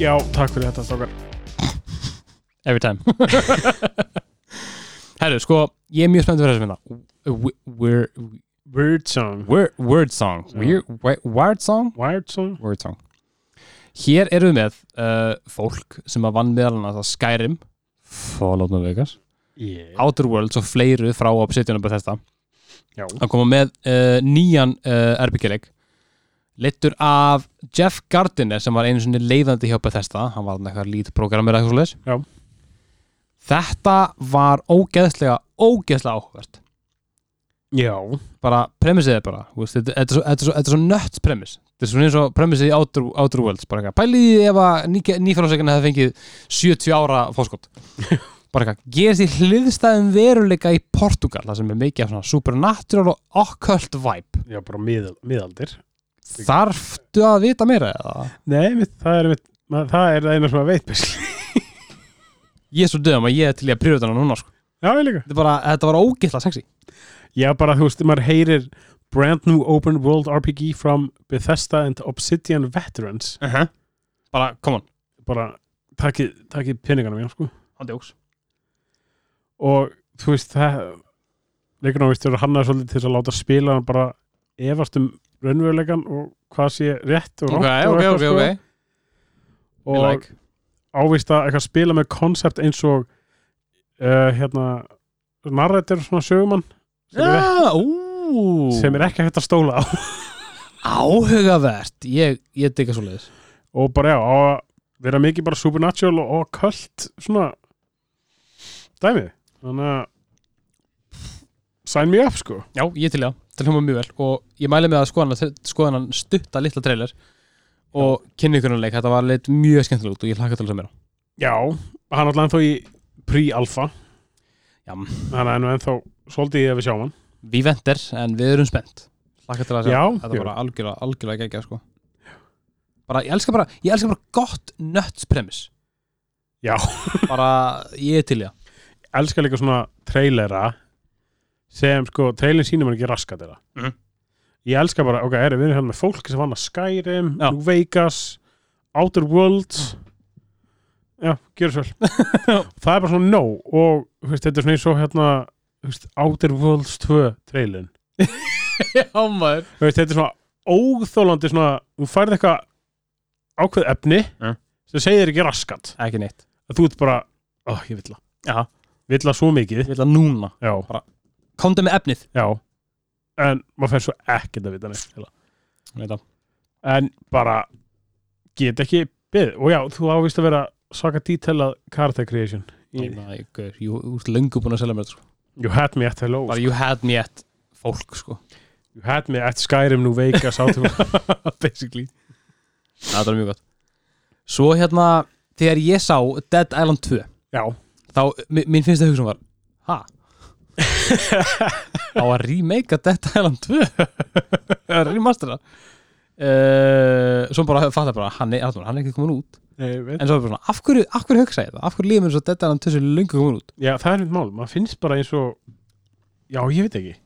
Speaker 2: Já, takk fyrir þetta, stókar.
Speaker 1: every [laughs] time Herru, sko, ég er mjög spenntið fyrir hérna. þessu minna We're,
Speaker 2: Weird song.
Speaker 1: we're, word song
Speaker 2: Já.
Speaker 1: we're, we- Wired song?
Speaker 2: Wired song.
Speaker 1: Word song Hér erum við með uh, fólk sem að vann meðal annars að Skyrim Fallout New Vegas
Speaker 2: Yeah.
Speaker 1: Outer Worlds og fleiru frá Obsidian og Bethesda
Speaker 2: Já.
Speaker 1: að koma með uh, nýjan uh, RPG-leik leittur af Jeff Gardiner sem var einu sinni leiðandi hjá Bethesda hann var eitthvað lítprógrammir eitthvað svoleiðis
Speaker 2: Já.
Speaker 1: þetta var ógeðslega, ógeðslega áhugavert
Speaker 2: Já.
Speaker 1: bara premissið er bara þú veist, þetta, þetta, er svo, þetta, er svo, þetta er svo nött premiss þetta er svona eins og premissið í Outer, Outer Worlds bara eitthvað, pælið í því ef að nýfælagsveikana hefði fengið 70 ára fóskot bara eitthvað, gerist í hliðstæðum veruleika í Portugal það sem er mikið af svona supernatural og occult vibe
Speaker 2: Já, bara miðal, miðaldir.
Speaker 1: Þarftu að vita meira eða?
Speaker 2: Nei, mitt, það er mitt, maður, það er það eina sem að veit best.
Speaker 1: Ég er svo döðum að ég er til í að prýra þetta núna sko.
Speaker 2: Já, ég líka.
Speaker 1: þetta, er bara, þetta var ógeðla sexy
Speaker 2: Já, bara þú veist, maður heyrir brand new open world RPG from Bethesda and Obsidian Veterans.
Speaker 1: uh -huh. Bara, come on,
Speaker 2: Bara takkið, takkið peningana mína, sko.
Speaker 1: hann djóks
Speaker 2: og þú veist það leikurinn á vistur hann er svolítið til þess að láta spila hann bara efast um raunveruleikan og hvað sé rétt og
Speaker 1: Ok,
Speaker 2: rangt og
Speaker 1: ok,
Speaker 2: eitthvað,
Speaker 1: ok,
Speaker 2: sko.
Speaker 1: ok
Speaker 2: og
Speaker 1: Ég like.
Speaker 2: ávist að eitthvað spila með konsept eins og uh, hérna narrættir svona sögumann sem, er,
Speaker 1: Já, ú
Speaker 2: ekki- sem er ekki hægt að stóla á
Speaker 1: Áhugavert, ég, ég digga svo leiðis
Speaker 2: og bara já, á að vera mikið bara supernatural og, og kvöld svona dæmið þannig að sign me up sko
Speaker 1: Já, ég til í það, það hljóma mjög vel og ég mæli með að skoðan, skoðan hann stutta litla trailer og kynni ykkur hann leik, þetta var leitt mjög skemmtilega út og ég hlaka til þess að meira
Speaker 2: já, hann alltaf ennþá í pre-alpha
Speaker 1: Já,
Speaker 2: Þannig að nú ennþá svolítið ég að við sjáum hann.
Speaker 1: við vendir en við erum spennt Hlaka til að sjá
Speaker 2: Já,
Speaker 1: Þetta er
Speaker 2: já.
Speaker 1: bara algjörlega, algjörlega geggjað sko bara, ég elska bara, ég elska bara gott nuts premiss
Speaker 2: Já.
Speaker 1: Bara, ég er til í
Speaker 2: [laughs]
Speaker 1: það
Speaker 2: Elskar líka svona trailera sem sko, trailin sínum er ekki raskat þeirra.
Speaker 1: Mhm.
Speaker 2: Ég elskar bara, ok, erum við erum hérna með fólk sem vann að Skyrim,
Speaker 1: Já.
Speaker 2: New Vegas, Outer Worlds. Já, gerur
Speaker 1: [laughs]
Speaker 2: svo vel. það er bara svona no og þú veist, þetta er svona eins og hérna þú veist, Outer Worlds 2 trailin.
Speaker 1: Já maður
Speaker 2: Þú veist, þetta er svona óþólandi svona, þú færð eitthvað ákveð efni
Speaker 1: Mhm.
Speaker 2: sem segir þér ekki raskat.
Speaker 1: Ekki neitt,
Speaker 2: að þú ert bara oh, ég vill að
Speaker 1: Já.
Speaker 2: vill að svo mikið
Speaker 1: ég vil að núna
Speaker 2: já,
Speaker 1: Komdu með efnið
Speaker 2: já. en maður fær svo ekkert að vita neitt eiginlega.
Speaker 1: Neita.
Speaker 2: en bara get ekki beðið og já, þú ávist að vera svaka detailað character creation í,
Speaker 1: Ég gaur, jú- Þú ert löngu búin að selja mér þetta sko
Speaker 2: you had me at hello
Speaker 1: Bara you had me at fólk sko
Speaker 2: you had me at Skyrim New
Speaker 1: [laughs]
Speaker 2: Vegas átum [laughs] basically
Speaker 1: Það er mjög gott Svo hérna, þegar ég sá Dead Island 2
Speaker 2: já,
Speaker 1: þá, mi- mín finnst það hugsun var ha? á að remake að Dead Island 2 að remastera uh, svo bara fattar bara hann er, hann er ekki komin út
Speaker 2: ég veit
Speaker 1: en svo er bara svona, af hverju, af hverju hugsa ég það? af hverju lífum eins og Dead Island 2 sem er löngu komin út?
Speaker 2: já, það er mitt mál, maður finnst bara eins og já, ég veit ekki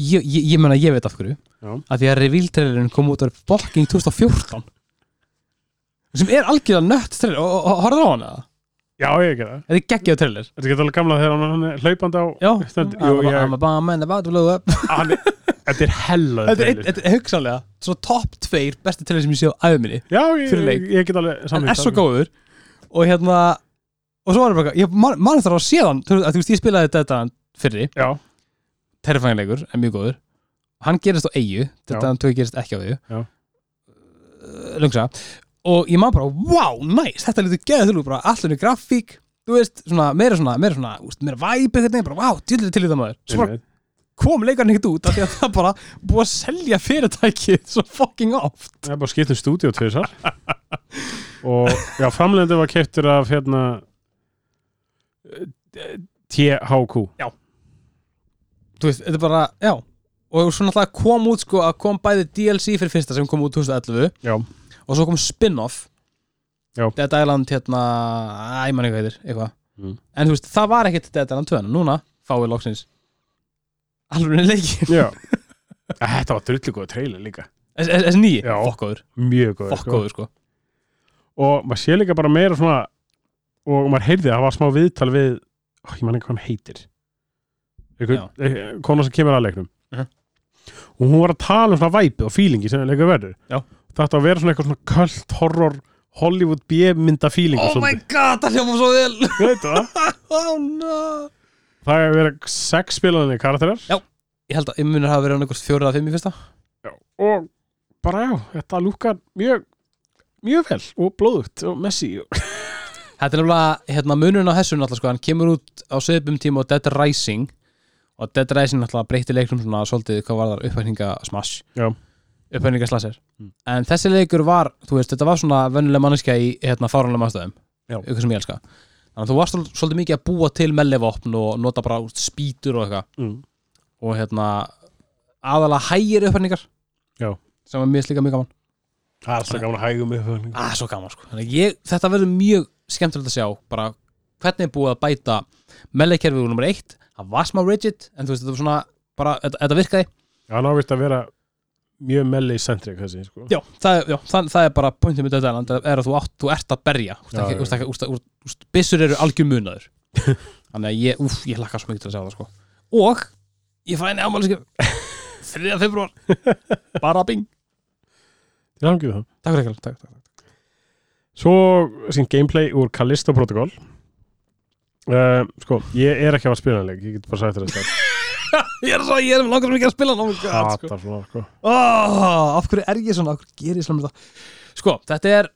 Speaker 1: Ég, ég, ég menna ég veit af hverju
Speaker 2: Já.
Speaker 1: að því að reveal trailerin kom út árið fucking 2014 sem er algjörlega nött trailer og, og, og horfður á hann eða?
Speaker 2: já, ég ekki það,
Speaker 1: Þetta er geggjað trailer
Speaker 2: þetta getur alveg gamla þegar hann er hlaupandi á
Speaker 1: Já,
Speaker 2: Stendur-
Speaker 1: I'm
Speaker 2: jú,
Speaker 1: a-
Speaker 2: ég-
Speaker 1: I'm a bomb and about to blow up
Speaker 2: [laughs] hann, þetta er hella
Speaker 1: Þetta er, einn- þetta er hugsanlega Svo top 2 besti trailer sem ég sé á æfuminni
Speaker 2: Já, ég,
Speaker 1: fyrir leik.
Speaker 2: ég, ég get alveg
Speaker 1: Hann
Speaker 2: samþykkt
Speaker 1: er svo
Speaker 2: það.
Speaker 1: góður Og hérna Og svo var það bara eitthvað- Ég man þar á séðan Þú veist, að þú veist, ég spilaði þetta fyrri
Speaker 2: Já,
Speaker 1: terrifæðinleikur en mjög góður hann gerist á eigu,
Speaker 2: Já.
Speaker 1: þetta hann tvö gerist ekki á eigu
Speaker 2: Já.
Speaker 1: Uh, lungsa og ég maður bara, wow, nice þetta lítur geðið þurru, bara allir grafík þú veist, svona, meira svona, meira svona úst, meira væp eitthvað neginn, bara, wow, djúlega til í það maður svo bara
Speaker 2: Einmitt.
Speaker 1: kom leikarinn ekkert út af því að það bara búið að selja fyrirtækið svo fucking oft
Speaker 2: Það er bara skipt um stúdíu tvisar og já, framlegndi var keiptur af hérna eh, THQ
Speaker 1: þú veist, þetta er bara, já og svo náttúrulega kom út sko að kom bæði DLC fyrir fyrsta sem kom út 2011
Speaker 2: Já,
Speaker 1: og svo kom spin-off
Speaker 2: Já.
Speaker 1: Dead Island hérna, æ, mann eitthvað heitir eitthvað,
Speaker 2: Mm.
Speaker 1: en þú veist, það var ekkert Dead Island 2, en núna fáið loksins alveg leikir
Speaker 2: já Þetta var drullu góð trailer líka
Speaker 1: þessi þessi nýji,
Speaker 2: Já.
Speaker 1: fokkaður
Speaker 2: Mjög góð
Speaker 1: fokkaður sko,
Speaker 2: Og maður sé líka bara meira svona og maður heyrði að það var smá viðtal við ó, ég man ekki hvað hann heitir
Speaker 1: Já.
Speaker 2: einhver eh, kona sem kemur að leiknum
Speaker 1: Mhm.
Speaker 2: og hún var að tala um svona væpið og fílingi sem leikur verður
Speaker 1: Já.
Speaker 2: þetta að vera svona eitthvað svona kvöld horror Hollywood B-mynda fílingu
Speaker 1: oh my god, það hljóma svo vel [laughs]
Speaker 2: Þetta?
Speaker 1: oh no
Speaker 2: Það er að vera sex spilaðinni karakterar
Speaker 1: Já. ég held að immunir hafa verið einhvers fjóra eða fimm í fyrsta
Speaker 2: Já. og bara já, þetta lúkar mjög, mjög vel og blóðugt og messi og...
Speaker 1: Þetta er nefnilega, hérna munurinn á þessu náttúrulega sko, hann kemur út á sögum tíma og Dead Rising og Dead Rising náttúrulega breytti leiknum svona svolítið hvað var þar upphækninga smash
Speaker 2: Já.
Speaker 1: upphækninga slasir
Speaker 2: Mm.
Speaker 1: en þessi leikur var, þú veist, þetta var svona vennuleg manneskja í hérna fáranlega mannstæðum
Speaker 2: Já.
Speaker 1: ykkur sem ég elska þannig að þú varst svol- svolítið mikið að búa til mellivopn og nota bara úst, spýtur og eitthvað
Speaker 2: mm.
Speaker 1: og hérna aðalega hægir upphækningar
Speaker 2: Já.
Speaker 1: sem var mjög slíka mjög gaman
Speaker 2: Það er alltaf gaman að um hægum upp
Speaker 1: að svo gaman sko Þannig að ég, þetta verður mjög skemmtilegt að sjá bara hvernig er búið að bæta mellekerfið úr nummer eitt það var smá rigid en þú veist þetta var svona bara þetta, þetta virkaði
Speaker 2: Já, hann ávist að vera mjög melli í sentrik þessi sko.
Speaker 1: já það, er- já, það, það er bara pointið með þetta land er að þú, átt, þú ert að berja úst,
Speaker 2: Já,
Speaker 1: ekki,
Speaker 2: já,
Speaker 1: úst, ekki, úst, úst, úst, byssur eru algjör [laughs] munaður þannig að ég, úf, ég hlakka svo mikið til að sjá það sko og ég fæ henni ámæliskeið 3. [laughs] februar bara bing
Speaker 2: Til hamingju með það.
Speaker 1: takk fyrir ekki takk, takk, takk.
Speaker 2: Svo sín gameplay úr Callisto Protocol uh, Sko, ég er ekki að fara að spila hann leik Ég get bara sagt þér [laughs] þetta
Speaker 1: ég er svo ég er langar svo mikið að spila hann oh my god sko
Speaker 2: Hatar svona, sko
Speaker 1: oh, af hverju er ég svona, af hverju gerir ég svona þetta sko, þetta er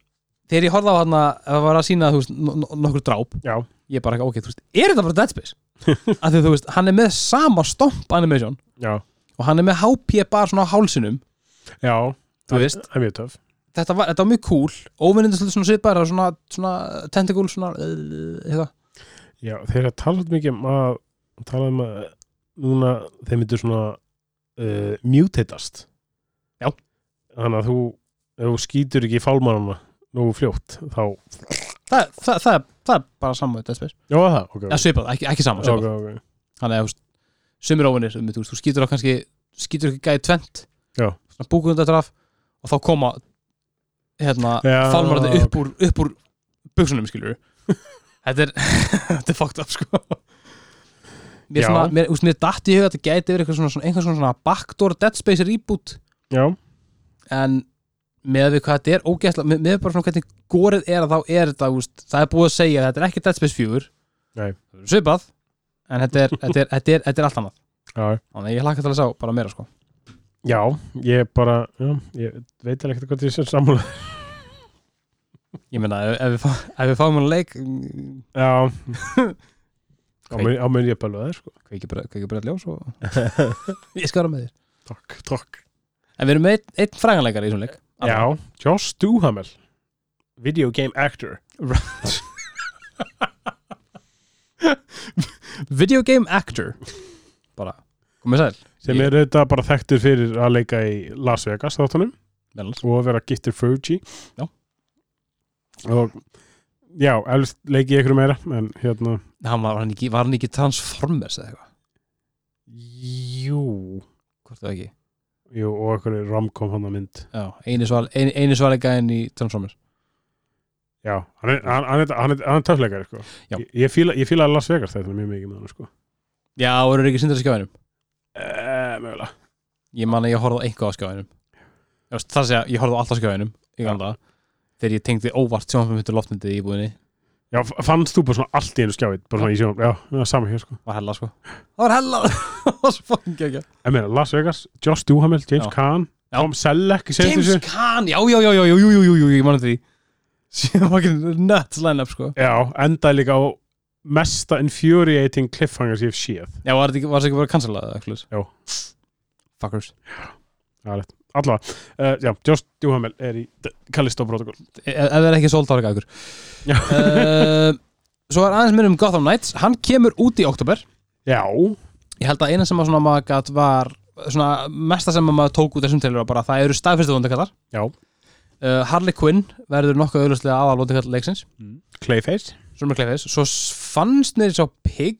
Speaker 1: þegar ég horfði á hann að það var að sína þú veist, no- no- nokkur dráp,
Speaker 2: Já,
Speaker 1: ég bara ekki, ok, þú veist er þetta bara Dead Space? af því að þú veist, hann er með sama stomp animation
Speaker 2: já,
Speaker 1: og hann er með HP bara svona á hálsinum
Speaker 2: já
Speaker 1: Þú veist.
Speaker 2: Það er mjög töf
Speaker 1: þetta var, þetta var mjög cool, óvinnindi svolítið svona svipar það var svona, svona tentacle svona, eh, eitthvað,
Speaker 2: Já, þeir eru að tala svolítið mikið um að tala um að núna þeir myndu svona uh, mutatast
Speaker 1: Já.
Speaker 2: Þannig að þú, ef þú skýtur ekki í fálmannana nógu fljótt þá
Speaker 1: það, það, það, er- það er bara saman með Dead Space,
Speaker 2: Já, var það, ok
Speaker 1: eða svipað, ekki, ekki saman svipað,
Speaker 2: Ok, ok,
Speaker 1: þannig að þú veist, sumir óvinnir, þú veist, þú skýtur á kannski skýtur ekki gæði tvent
Speaker 2: Já.
Speaker 1: svona búkundatraf og þá koma hérna,
Speaker 2: Já,
Speaker 1: fálmarandi upp úr, upp úr buksunum,
Speaker 2: [laughs]
Speaker 1: skilur þetta er, [laughs] þetta er fucked up, sko mér,
Speaker 2: Já.
Speaker 1: svona, mér, úst, mér datt í huga að þetta gæti verið eitthvað svona, svona, einhver svona, svona backdoor Dead Space reboot
Speaker 2: já
Speaker 1: en með við hvað þetta er ógæsla með, með bara svona hvernig gorið er að þá er þetta úst, það er búið að segja að þetta er ekki Dead Space 4
Speaker 2: Nei.
Speaker 1: Það verður svipað en þetta er, þetta er, þetta er, þetta er allt annað
Speaker 2: Já,
Speaker 1: þannig að ég hlakka til að sjá bara meira sko
Speaker 2: já, ég bara, já, ég veit alveg ekkert hvað því sem sammála
Speaker 1: Ég meina, ef, ef, við, fá, ef við fáum hann leik mm,
Speaker 2: [laughs] Já Á
Speaker 1: Kveik.
Speaker 2: mun, á sko. mun ég bælu það, sko
Speaker 1: kveiki bara, kveiki bara ljós og ég skal vera með þér
Speaker 2: [laughs] Takk, takk
Speaker 1: En við erum með einn, einn fræganleikar í þessum leik
Speaker 2: Já, Josh Duhamel Video game actor
Speaker 1: Video game actor Bara, komið sæl
Speaker 2: sem er auðvitað bara þekktur fyrir að leika í Las Vegas þáttunum
Speaker 1: Meðlans
Speaker 2: og að vera giftur Fergie
Speaker 1: Já.
Speaker 2: og já, elst leik ég ykkur meira en hérna
Speaker 1: Hann var, var hann ekki, var hann ekki Transformers eða eitthvað
Speaker 2: jú,
Speaker 1: Hvort það ekki
Speaker 2: jú og ykkur romkom hann að mynd
Speaker 1: Já, eini sval, ein, eini svalegæðin í Transformers
Speaker 2: já, hann er, hann, hann er, hann er, hann er töfleikar sko.
Speaker 1: Já.
Speaker 2: ég, ég fíla- ég fíla Las Vegas þetta mjög mikið með hann sko.
Speaker 1: Já, voru ekki sindur að skjáðinum
Speaker 2: eh, mögulega
Speaker 1: Ég man að ég horfði á eitthvað á skjáðinum Það sé að segja, ég horfði á alltaf skjáðinum Í gamla daga, Þegar ég tengdi óvart sjónfum hittur loftmyndið í búinni
Speaker 2: Já, f- fannst þú bara svona allt í einu skjáið bara svona í sjónum, já, já sama hér sko
Speaker 1: var hella sko það var hella [laughs] það var svo fucking gegja
Speaker 2: En meina, Las Vegas, Josh Duhamel, James
Speaker 1: Já.
Speaker 2: Caan
Speaker 1: Já.
Speaker 2: Tom Selleck, í
Speaker 1: James
Speaker 2: seinustu þessu
Speaker 1: Caan já já já já jú jú jú, jú jú ég manna því síðan fucking nuts line-up sko
Speaker 2: Já, endaði líka á mesta infuriating cliffhanger sem ég hef séð
Speaker 1: já var þetta ekki var þetta ekki bara cancelað eða eitthvað
Speaker 2: Jú.
Speaker 1: fuckers
Speaker 2: Alla, uh, já, Josh Duhamel er í D- Callisto Protocol
Speaker 1: E- ef það er ekki sold árið gækur
Speaker 2: Já.
Speaker 1: uh, svo er aðeins mér um Gotham Knights hann kemur út í oktober
Speaker 2: Já,
Speaker 1: ég held að eina sem að svona maður gæt var svona mesta sem að maður tók út þessum tilur var bara að það eru staðfyrstu vondakallar
Speaker 2: Já.
Speaker 1: uh, Harley Quinn verður nokkuð auðvitað aðal vondakall leiksins
Speaker 2: Clayface
Speaker 1: svo mér kleifis svo s- fannst mér svo pig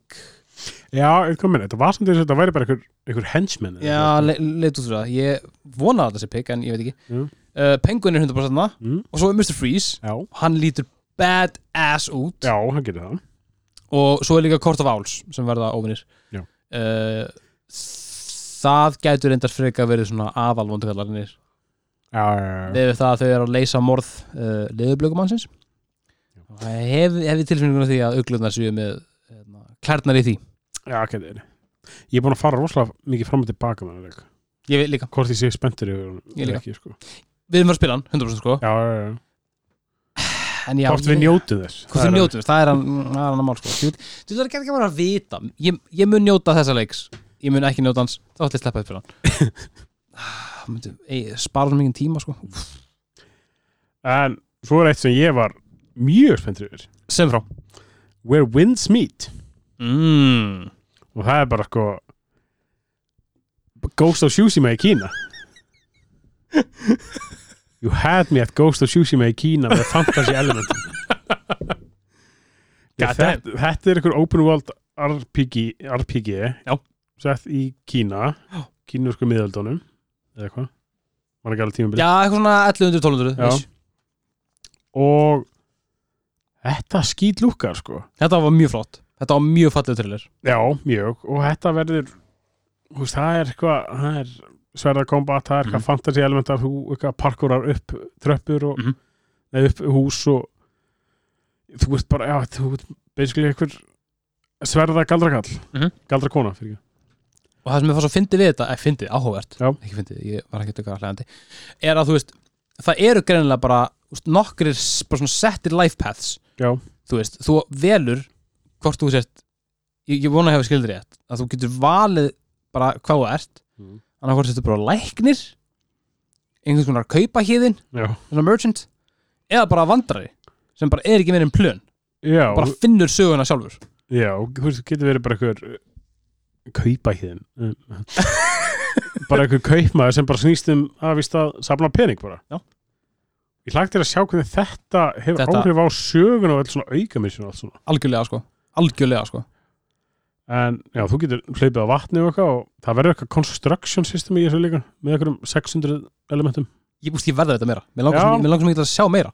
Speaker 2: Já, eitthvað minni, þetta var samt eins og þetta væri bara einhver, einhver henchman eða
Speaker 1: já,
Speaker 2: eitthvað.
Speaker 1: le leitt út fyrir það ég vonaði að þetta sé pig en ég veit ekki
Speaker 2: Jú.
Speaker 1: uh, Penguin er 100% þarna
Speaker 2: Mm.
Speaker 1: og svo er Mr. Freeze
Speaker 2: Já,
Speaker 1: hann lítur badass út
Speaker 2: já, hann getur það
Speaker 1: og svo er líka Court of Owls sem verða óvinnir
Speaker 2: Já.
Speaker 1: Eh, það gætur reyndar freka verið svona aðalvondakallarnir
Speaker 2: Já, já, já, já.
Speaker 1: við það að þau eru að leysa morð uh, leðublökumannsins hef, hef ég tilfinninguna því að auglunar séu með hérna, klærnar í því
Speaker 2: já getur það Ég er búin að fara rosalega mikið fram og tilbaka með þetta
Speaker 1: ég veit líka,
Speaker 2: Hvort ég sé spenntur yfir honum
Speaker 1: Ég
Speaker 2: eða
Speaker 1: líka.
Speaker 2: ekki, sko.
Speaker 1: við erum að spila hann 100% sko,
Speaker 2: Já, já, já
Speaker 1: en já
Speaker 2: Hvort við
Speaker 1: ég-
Speaker 2: njótum þess
Speaker 1: hvort við njótum þess, það er hann það er hann að mál sko, þú veit, þú veit ekki bara að vita ég, ég mun njóta þessa leiks ég mun ekki njóta hans, þá ætla ég að sleppa upp fyrir hann [laughs] Ah, myndi, ey, spara svo mikið tíma sko
Speaker 2: En svo er eitt sem ég var mjög spenntur yfir
Speaker 1: sem frá
Speaker 2: Where Winds Meet
Speaker 1: mm.
Speaker 2: og það er bara sko Ghost of Tsushima í
Speaker 1: [laughs]
Speaker 2: Kína You had me at Ghost of Tsushima í Kína með fantasy element
Speaker 1: God damn.
Speaker 2: þetta, þetta er einhver open world RPG, RPG
Speaker 1: Já.
Speaker 2: sett í Kína
Speaker 1: Já.
Speaker 2: kínusku miðaldónum eða hvað var ekki alveg tímabilið
Speaker 1: já, eitthvað svona 1100-1200
Speaker 2: Já.
Speaker 1: ish.
Speaker 2: og þetta skýt lúkar sko
Speaker 1: þetta var mjög flott, þetta var mjög fallið trailer
Speaker 2: Já, mjög, og þetta verður þú veist, það er eitthvað það er sverða kombat, það er eitthvað
Speaker 1: Mhm.
Speaker 2: fantasy elementar, þú eitthvað parkúrar upp tröppur og
Speaker 1: Mhm.
Speaker 2: nei, upp hús og þú veist bara, já, þú veist basically eitthvað sverða galdrakall
Speaker 1: Mhm.
Speaker 2: galdrakona, fyrir ekki
Speaker 1: og það sem ég fannst svo fyndið við þetta, eða fyndið, áhugavert
Speaker 2: Já.
Speaker 1: ekki fyndið, ég var ekki eitthvað hlæðandi er að þú veist, það eru greinilega bara þú veist, nokkrir s- bara svona settir life paths
Speaker 2: Já.
Speaker 1: þú veist, þú velur hvort þú sért ég, ég vona að hefa skildur rétt, að þú getur valið bara hvað þú ert
Speaker 2: Mhm.
Speaker 1: annað hvort þetta bara læknir einhvers konar kaupa híðin,
Speaker 2: Já,
Speaker 1: svona merchant eða bara vandrari, sem bara er ekki meira en plön,
Speaker 2: já,
Speaker 1: bara finnur söguna sjálfur
Speaker 2: já þú veist, þú getur verið bara eitthvað kaupa híðin eh,
Speaker 1: [laughs]
Speaker 2: bara eitthvað kaupmaður sem bara snýst um að víst að safna pening bara
Speaker 1: Já.
Speaker 2: Ég hlægt þér að sjá hvernig þetta hefur
Speaker 1: Þetta-
Speaker 2: áhrif á sögun og öll svona aukamissun og allt svona
Speaker 1: algjörlega sko, algjörlega sko
Speaker 2: en já, þú getur hlaupið á vatni og eitthvað og það verður eitthvað construction system í þessu líka með einhverjum 600 elementum
Speaker 1: ég, úst, ég verða þetta meira, mér langar
Speaker 2: Já.
Speaker 1: svo- mig langar svo mikið til að sjá meira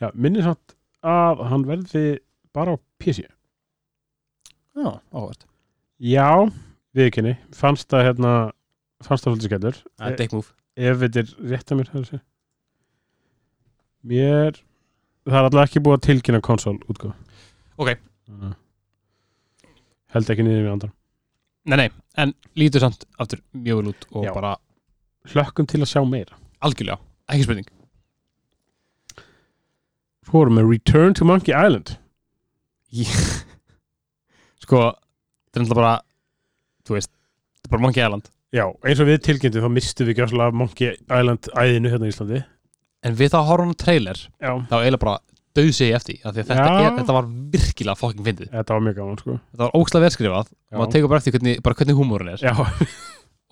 Speaker 2: já, minni samt að hann verði bara á PC
Speaker 1: Já, áhvert
Speaker 2: já, við ekki fannst það hérna, fannst það svolítið skellur
Speaker 1: Það er
Speaker 2: Eh,
Speaker 1: dick move
Speaker 2: ef þetta er rétt að mér það er að segja. mér það er alltaf ekki búið að tilkynna konsol útgóð
Speaker 1: Ok.
Speaker 2: held ekki niður við andan
Speaker 1: Nei, nei, en lítur samt aftur mjög vel út og
Speaker 2: Já.
Speaker 1: bara
Speaker 2: hlökkum til að sjá meira
Speaker 1: algjörlega, ekki spurning
Speaker 2: svo erum við Return to Monkey Island
Speaker 1: [laughs] Sko, þetta er náttúrulega bara þú veist, þetta er bara Monkey Island
Speaker 2: Já, eins og við tilkynntum þá mistum við gjössalega af Monkey Island æðinu hérna í Íslandi
Speaker 1: En við það horfum á trailer,
Speaker 2: Já,
Speaker 1: þá er eiginlega bara döðsegi eftir, af því að þetta,
Speaker 2: Já.
Speaker 1: er, þetta var virkilega fucking fyndið,
Speaker 2: þetta var mjög gaman sko
Speaker 1: þetta var ókslega verðskrifað og maður
Speaker 2: Já,
Speaker 1: tegur bara eftir hvernig, bara hvernig húmórin er
Speaker 2: já,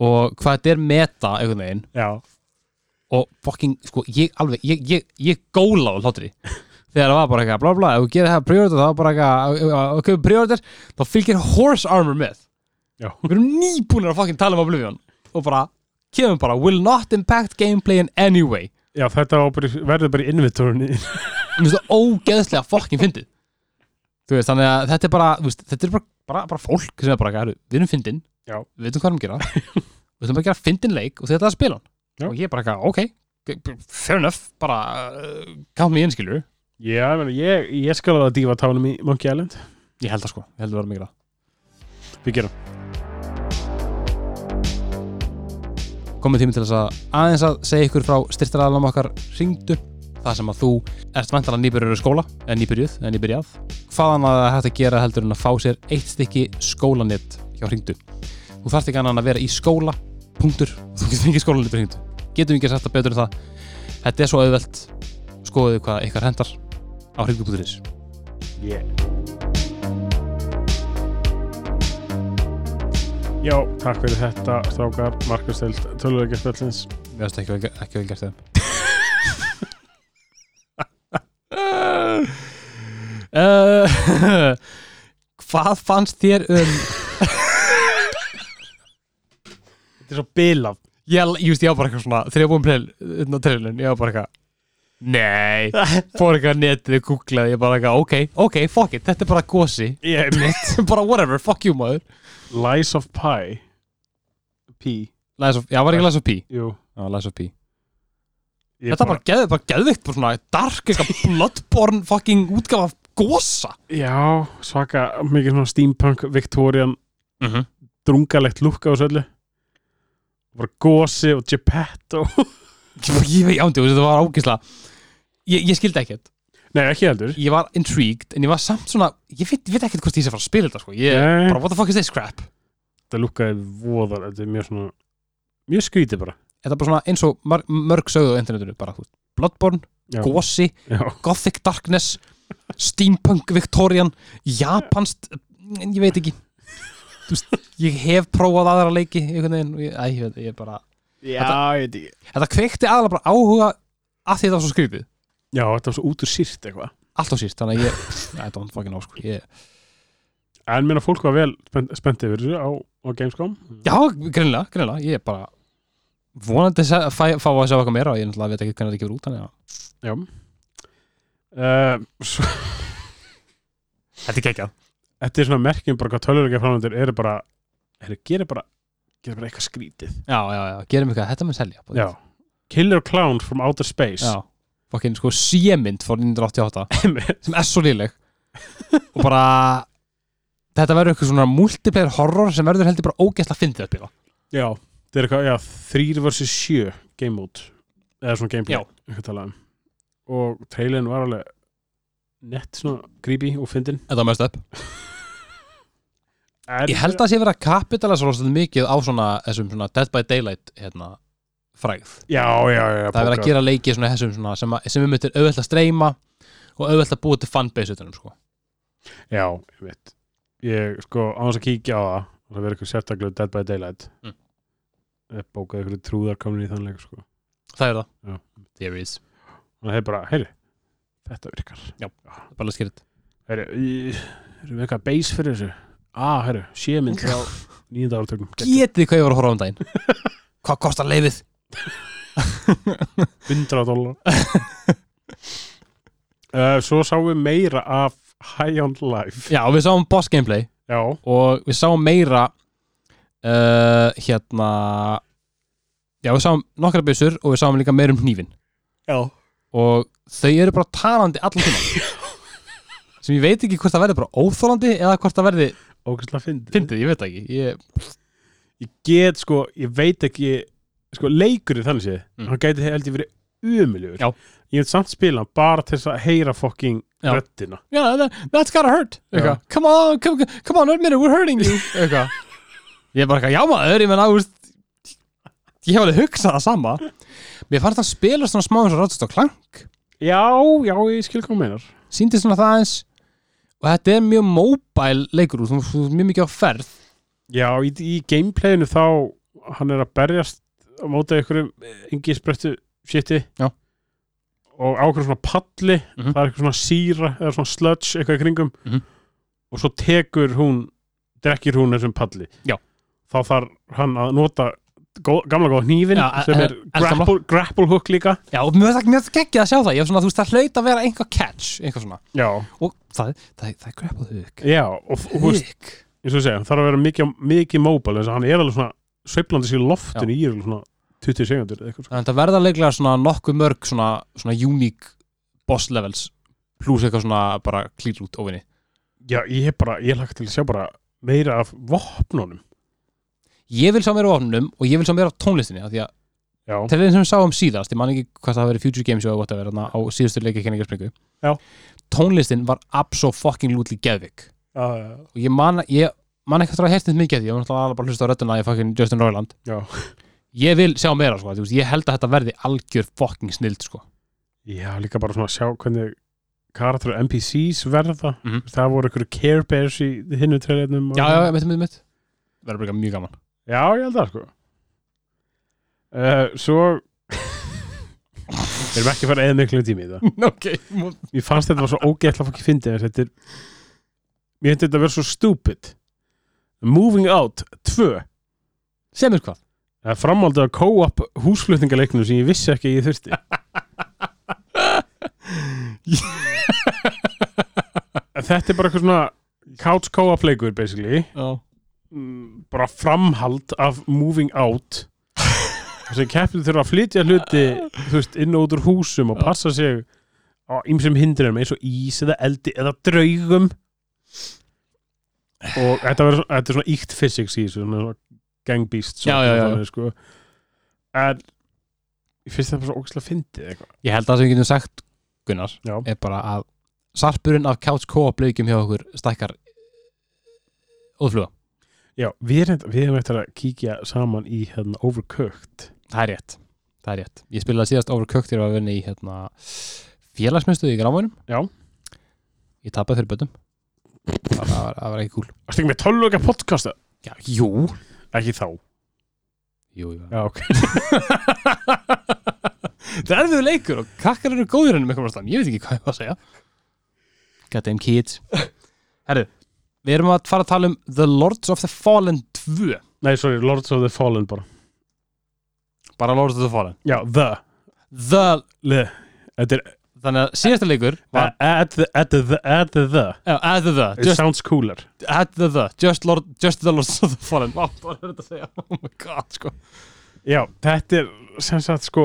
Speaker 1: og hvað þetta er meta einhvern veginn
Speaker 2: já,
Speaker 1: og fucking, sko, ég alveg ég, ég, ég góla á hlátri þegar það var bara eitthvað, bla bla, ef þú gerir það prioriter þá bara eitthvað, ef- ef þú kemur prioriter þá fylgir horse armor með
Speaker 2: já,
Speaker 1: við erum nýbúinir að fucking tala um Oblivion og bara, kemur bara, will not impact gameplay in any way
Speaker 2: já þetta var bara, verður bara í inventorinu
Speaker 1: mér finnst það ógeðslega fucking fyndið þú veist, þannig að þetta er bara þú veist, þetta er bara, bara, bara fólk sem er bara, eitthvað, "Herru, við erum fyndin,
Speaker 2: Já.
Speaker 1: við veitum hvað erum að gera við veitum bara að gera fyndin leik og þetta er að spila hann
Speaker 2: Já.
Speaker 1: og ég er bara, eitthvað, ok, fair enough bara, uh, gátt mér einskilur
Speaker 2: Já, ég, meina, ég, ég skal að dífa tánum í Monkey Island
Speaker 1: Ég held það sko, ég held það var mikið það
Speaker 2: Við gerum
Speaker 1: Komið tími til þess að aðeins að segja ykkur frá styrtaraðanum okkar ringdu Það sem að þú ert vantar að nýbyrjur í skóla eða nýbyrjuð, eða nýbyrjað Hvaðan að það er hægt að gera heldur en að fá sér eitt stykki skólanett hjá ringdu Þú þarft ekki annan að vera í skóla punktur, þú getur ekki skólanett ringdu Getum ekki sagt það betur en það Þetta er svo auðvelt Skoðuðu hvað ykkar hendar á ringdu.is
Speaker 2: yeah. Já, takk fyrir þetta strákar, Markus Deild, tölulegjastfellins
Speaker 1: Mér finnst ekki, vel- ekki vel gert þeim uh, [laughs] Hvað fannst þér um
Speaker 2: Þetta er svo bilað
Speaker 1: Ég, ég veist, ég á bara eitthvað svona Þegar ég var búin til trailin, ég á bara eitthvað Nei, fór eitthvað á netið, googlaði, ég bara eitthvað Ok, ok, fuck it, þetta er bara gosi [laughs]
Speaker 2: Ég er mitt
Speaker 1: Bara whatever, fuck you maður
Speaker 2: Lies of Pi Pi,
Speaker 1: Lies of, Já, var ekki Lies of P
Speaker 2: jú
Speaker 1: Já, Lies of P
Speaker 2: Ég
Speaker 1: Þetta bara geðið, bara geðvikt, bara svona Dark, eitthvað bloodborne fucking útgáfa af gosa
Speaker 2: Já, svaka, mikið svona steampunk Victorian,
Speaker 1: mm -hmm.
Speaker 2: drungalegt lúkka og svo öllu Bara gósi og Geppetto [laughs]
Speaker 1: Ég veit ándi, þetta var ágisla Ég, ég skildi ekkert
Speaker 2: Nei, ekki heldur
Speaker 1: ég var intrigued en ég var samt svona, ég veit, veit ekkert hvort ég sé að fara að spila þetta sko, ég
Speaker 2: Nei.
Speaker 1: bara what the fuck is this crap
Speaker 2: Þetta lúkkaði voðar, þetta er mjög svona Mjög skrítið bara
Speaker 1: þetta er bara svona eins og mar- mörg sögðu á internetinu bara, þú veist, Bloodborne,
Speaker 2: Já,
Speaker 1: Gosi
Speaker 2: já.
Speaker 1: Gothic Darkness, Steampunk Victorian, Japanst en ég veit ekki Þú veist, ég hef prófað aðra leiki einhvern veginn, og ég, æ, ég veit, ég bara
Speaker 2: Já, ég veit ekki
Speaker 1: þetta kveikti aðalega bara áhuga að því þetta var svo skrýpið,
Speaker 2: Já, þetta var svo út úr sýrt eitthvað
Speaker 1: allt á síst þannig að ég, I don't fucking know sko ég,
Speaker 2: En minna fólk var vel spennt, spennt yfir þessu á, á Gamescom
Speaker 1: Já, greinlega, greinlega, ég er bara vonandi að se- fæ, fá að sjá eitthvað meira og ég náttúrulega veit ekki hvernig þetta kemur út þannig að
Speaker 2: Já uh, svo, [laughs]
Speaker 1: Þetta er kekkjað
Speaker 2: Þetta er svona merkjum bara hvað tölulega framöndir eru bara eru, gerir bara gerir bara eitthvað skrítið
Speaker 1: Já, já, já, gerum eitthvað, þetta mun selja
Speaker 2: Já Killer Clown from Outer Space
Speaker 1: já. Fokkin, sko, sémynd fór 1988
Speaker 2: [laughs] Einmitt.
Speaker 1: sem er svo líleg og bara þetta verður eitthvað svona multiplayer horror sem verður heldur bara ógeðslega fyndið að spila
Speaker 2: já Þetta er eitthvað, já, 3 vs 7 game mode eða svona gameplay
Speaker 1: Já.
Speaker 2: eitthvað talað um og trailin var alveg nett svona creepy og fyndin
Speaker 1: Þetta var mest upp Ég held að sé verið að kapitala svo rosalega mikið á svona, þessum svona Dead by Daylight hérna, frægð
Speaker 2: Já, já, já
Speaker 1: það er verið
Speaker 2: bókað.
Speaker 1: að gera leiki svona þessum svona sem, að, sem við möttum auðvelt að streyma og auðvelt að búa til fanbase utanum sko.
Speaker 2: Já, ég veit Ég sko á þess að kíkja á það og það verður eitthvað sérstaklega Dead by Daylight
Speaker 1: Mm.
Speaker 2: Það bókaði eitthvað trúðar komin í þannleik sko.
Speaker 1: það er það
Speaker 2: Já.
Speaker 1: there is,
Speaker 2: og það er bara, heyri, þetta virkar
Speaker 1: það er bara skeritt
Speaker 2: Heyri, í- erum við eitthvað base fyrir þessu Ah, heyri, sémynd [laughs] frá nýjönda áratökum
Speaker 1: getið þið hvað ég var að horfa á um [laughs] daginn hvað kostar leifið
Speaker 2: 100 [laughs] dólar uh, Svo sáum við meira af High on Life
Speaker 1: já, og við sáum boss gameplay
Speaker 2: Já,
Speaker 1: og við sáum meira uh, hérna já, við sáum nokkra byssur og við sáum líka meira um hnífin
Speaker 2: já.
Speaker 1: og þau eru bara talandi allan tíma [laughs] sem ég veit ekki hvort það verði bara óþólandi eða hvort það verði
Speaker 2: ógæslega fyndið
Speaker 1: fyndið, ég veit það ekki ég,
Speaker 2: Ég get sko, ég veit ekki sko, leikurinn þannig séð
Speaker 1: Mm.
Speaker 2: hann gæti held ég verið umuljur
Speaker 1: Já.
Speaker 2: ég hef samt spila hann bara til þess að heyra fucking
Speaker 1: Já.
Speaker 2: röddina
Speaker 1: yeah, that, that's gotta hurt
Speaker 2: Já.
Speaker 1: eitthvað, come on, come, come on, admit it, we're hurting
Speaker 2: [laughs]
Speaker 1: you eitthvað ég er bara eitthvað, já maður, ég menna úst, ég hef alveg hugsað það sama mér fannst það spila svona smá eins og ráttist á klank
Speaker 2: Já, já, ég skil hvað þú meinar
Speaker 1: síndi svona það eins og þetta er mjög móbæl leikur þú þú ert mjög mikið á ferð
Speaker 2: Já, í, í gameplayinu þá hann er að berjast á móti einhverjum engi sprettu shiti
Speaker 1: Já.
Speaker 2: og á einhverjum svona palli
Speaker 1: Mhm.
Speaker 2: það er eitthvað svona síra eða svona sludge eitthvað í kringum
Speaker 1: Mhm.
Speaker 2: og svo tekur hún drekkir hún þessum palli
Speaker 1: Já.
Speaker 2: þá þarf hann að nota góð, gamla góða hnífin
Speaker 1: Já,
Speaker 2: sem
Speaker 1: eh,
Speaker 2: er
Speaker 1: eh, eldgamla.
Speaker 2: grapple, grapple hook líka
Speaker 1: já, og mér finnst- mér finnst ekki að sjá það ég var svona, þú veist, það hlaut að vera einhver catch eitthvað svona,
Speaker 2: Já,
Speaker 1: og það, það, það er greppað hug
Speaker 2: já og þú veist,
Speaker 1: hug,
Speaker 2: eins og ég segja, hann þarf að vera mikið, mikið móbal þess að hann er alveg svona sveiflandi sér loftinu í alveg svona 20 sekundur eitthvað sko.
Speaker 1: þannig að þetta verða leiklega svona nokkuð mörg svona, svona unique boss levels pluss eitthvað svona bara klýr út óvinni
Speaker 2: Já, ég hef bara, ég lagt til að sjá bara meira af vopnunum
Speaker 1: ég vil sjá mér á ofnunum og ég vil sjá mér á tónlistinni af því að
Speaker 2: Já,
Speaker 1: trailerin sem við sáum síðast, ég man ekki hvað það hafi verið Future Games og whatever, þarna á síðustu leikakenningarspringu
Speaker 2: Já.
Speaker 1: tónlistin var abso fucking lútli geðvik
Speaker 2: uh,
Speaker 1: og ég man, ég man ekki eftir að hérstins mikið af því, ég var náttúrulega bara að hlusta á rödduna í fucking Justin Roiland
Speaker 2: Já.
Speaker 1: ég vil sjá meira, sko, þú veist, ég held að þetta verði algjör fucking snild, sko
Speaker 2: já líka bara svona að sjá hvernig karakter NPCs verða
Speaker 1: Mhm.
Speaker 2: Það voru ykkur Care Bears í hinnu treylinum
Speaker 1: já, já, mitt, mitt, mitt, verður bara mjög gaman
Speaker 2: [laughs] Já, ég held það sko uh, Svo Við erum ekki að fara eða miklu tími í það
Speaker 1: [laughs] ok,
Speaker 2: Mér fannst þetta var svo ógeðla fólki fyndið en Þetta er Mér finnst þetta að vera svo stupid Moving Out 2
Speaker 1: sem er hvað
Speaker 2: Það er framhaldið að co-op húsflutningaleiknum sem ég vissi ekki að ég þurfti En Þetta er bara eitthvað svona couch co-op leikur basically
Speaker 1: já,
Speaker 2: Mm, bara framhald af moving out þess að keppnir þurfa að flytja hluti þú veist, inn og út úr húsum og
Speaker 1: Já.
Speaker 2: passa sig á ýmsum hindrinum eins og ís eða eldi eða draugum og þetta, verður, þetta er svona íkt physics í þessu svona svona gang beast
Speaker 1: Já, já, já.
Speaker 2: Þannig, sko. en ég finnst það bara svo ógæslega fyndið eitthvað
Speaker 1: ég held að það sem við getum sagt, Gunnar
Speaker 2: Já.
Speaker 1: er bara að sarpurinn af couch co-op leikjum hjá okkur stækkar uh, óðfluga,
Speaker 2: já, við erum, við erum eftir að kíkja saman í hérna overcooked
Speaker 1: það er rétt það er rétt, ég spilaði síðast overkökt þegar ég var að vinna í hérna, félagsmyndstöðu í grámanum
Speaker 2: Já.
Speaker 1: ég tapaði fyrir bötum það var, það var ekki cool
Speaker 2: Varstu ekki með 12 okkar podcasta?
Speaker 1: já, jú,
Speaker 2: ekki þá
Speaker 1: jú, jú.
Speaker 2: já, ok
Speaker 1: [laughs] það er við leikur og kakkar eru góðir ennum eitthvað slæm, ég veit ekki hvað ég var að segja goddamn kids herru, við erum að fara að tala um The Lords of the Fallen 2
Speaker 2: Nei, sorry, Lords of the Fallen bara
Speaker 1: bara Lords of the Fallen
Speaker 2: Já, the
Speaker 1: The
Speaker 2: Le. Þetta er
Speaker 1: Þannig að síðasta leikur var
Speaker 2: a- add the, add the, the, add the, the.
Speaker 1: uh, Add the the
Speaker 2: It
Speaker 1: just,
Speaker 2: sounds cooler
Speaker 1: Add the the Just, Lord, just the Lords of the Fallen Vá, hvað er þetta að segja? [laughs] Oh my god, sko
Speaker 2: Já, þetta er sem sagt sko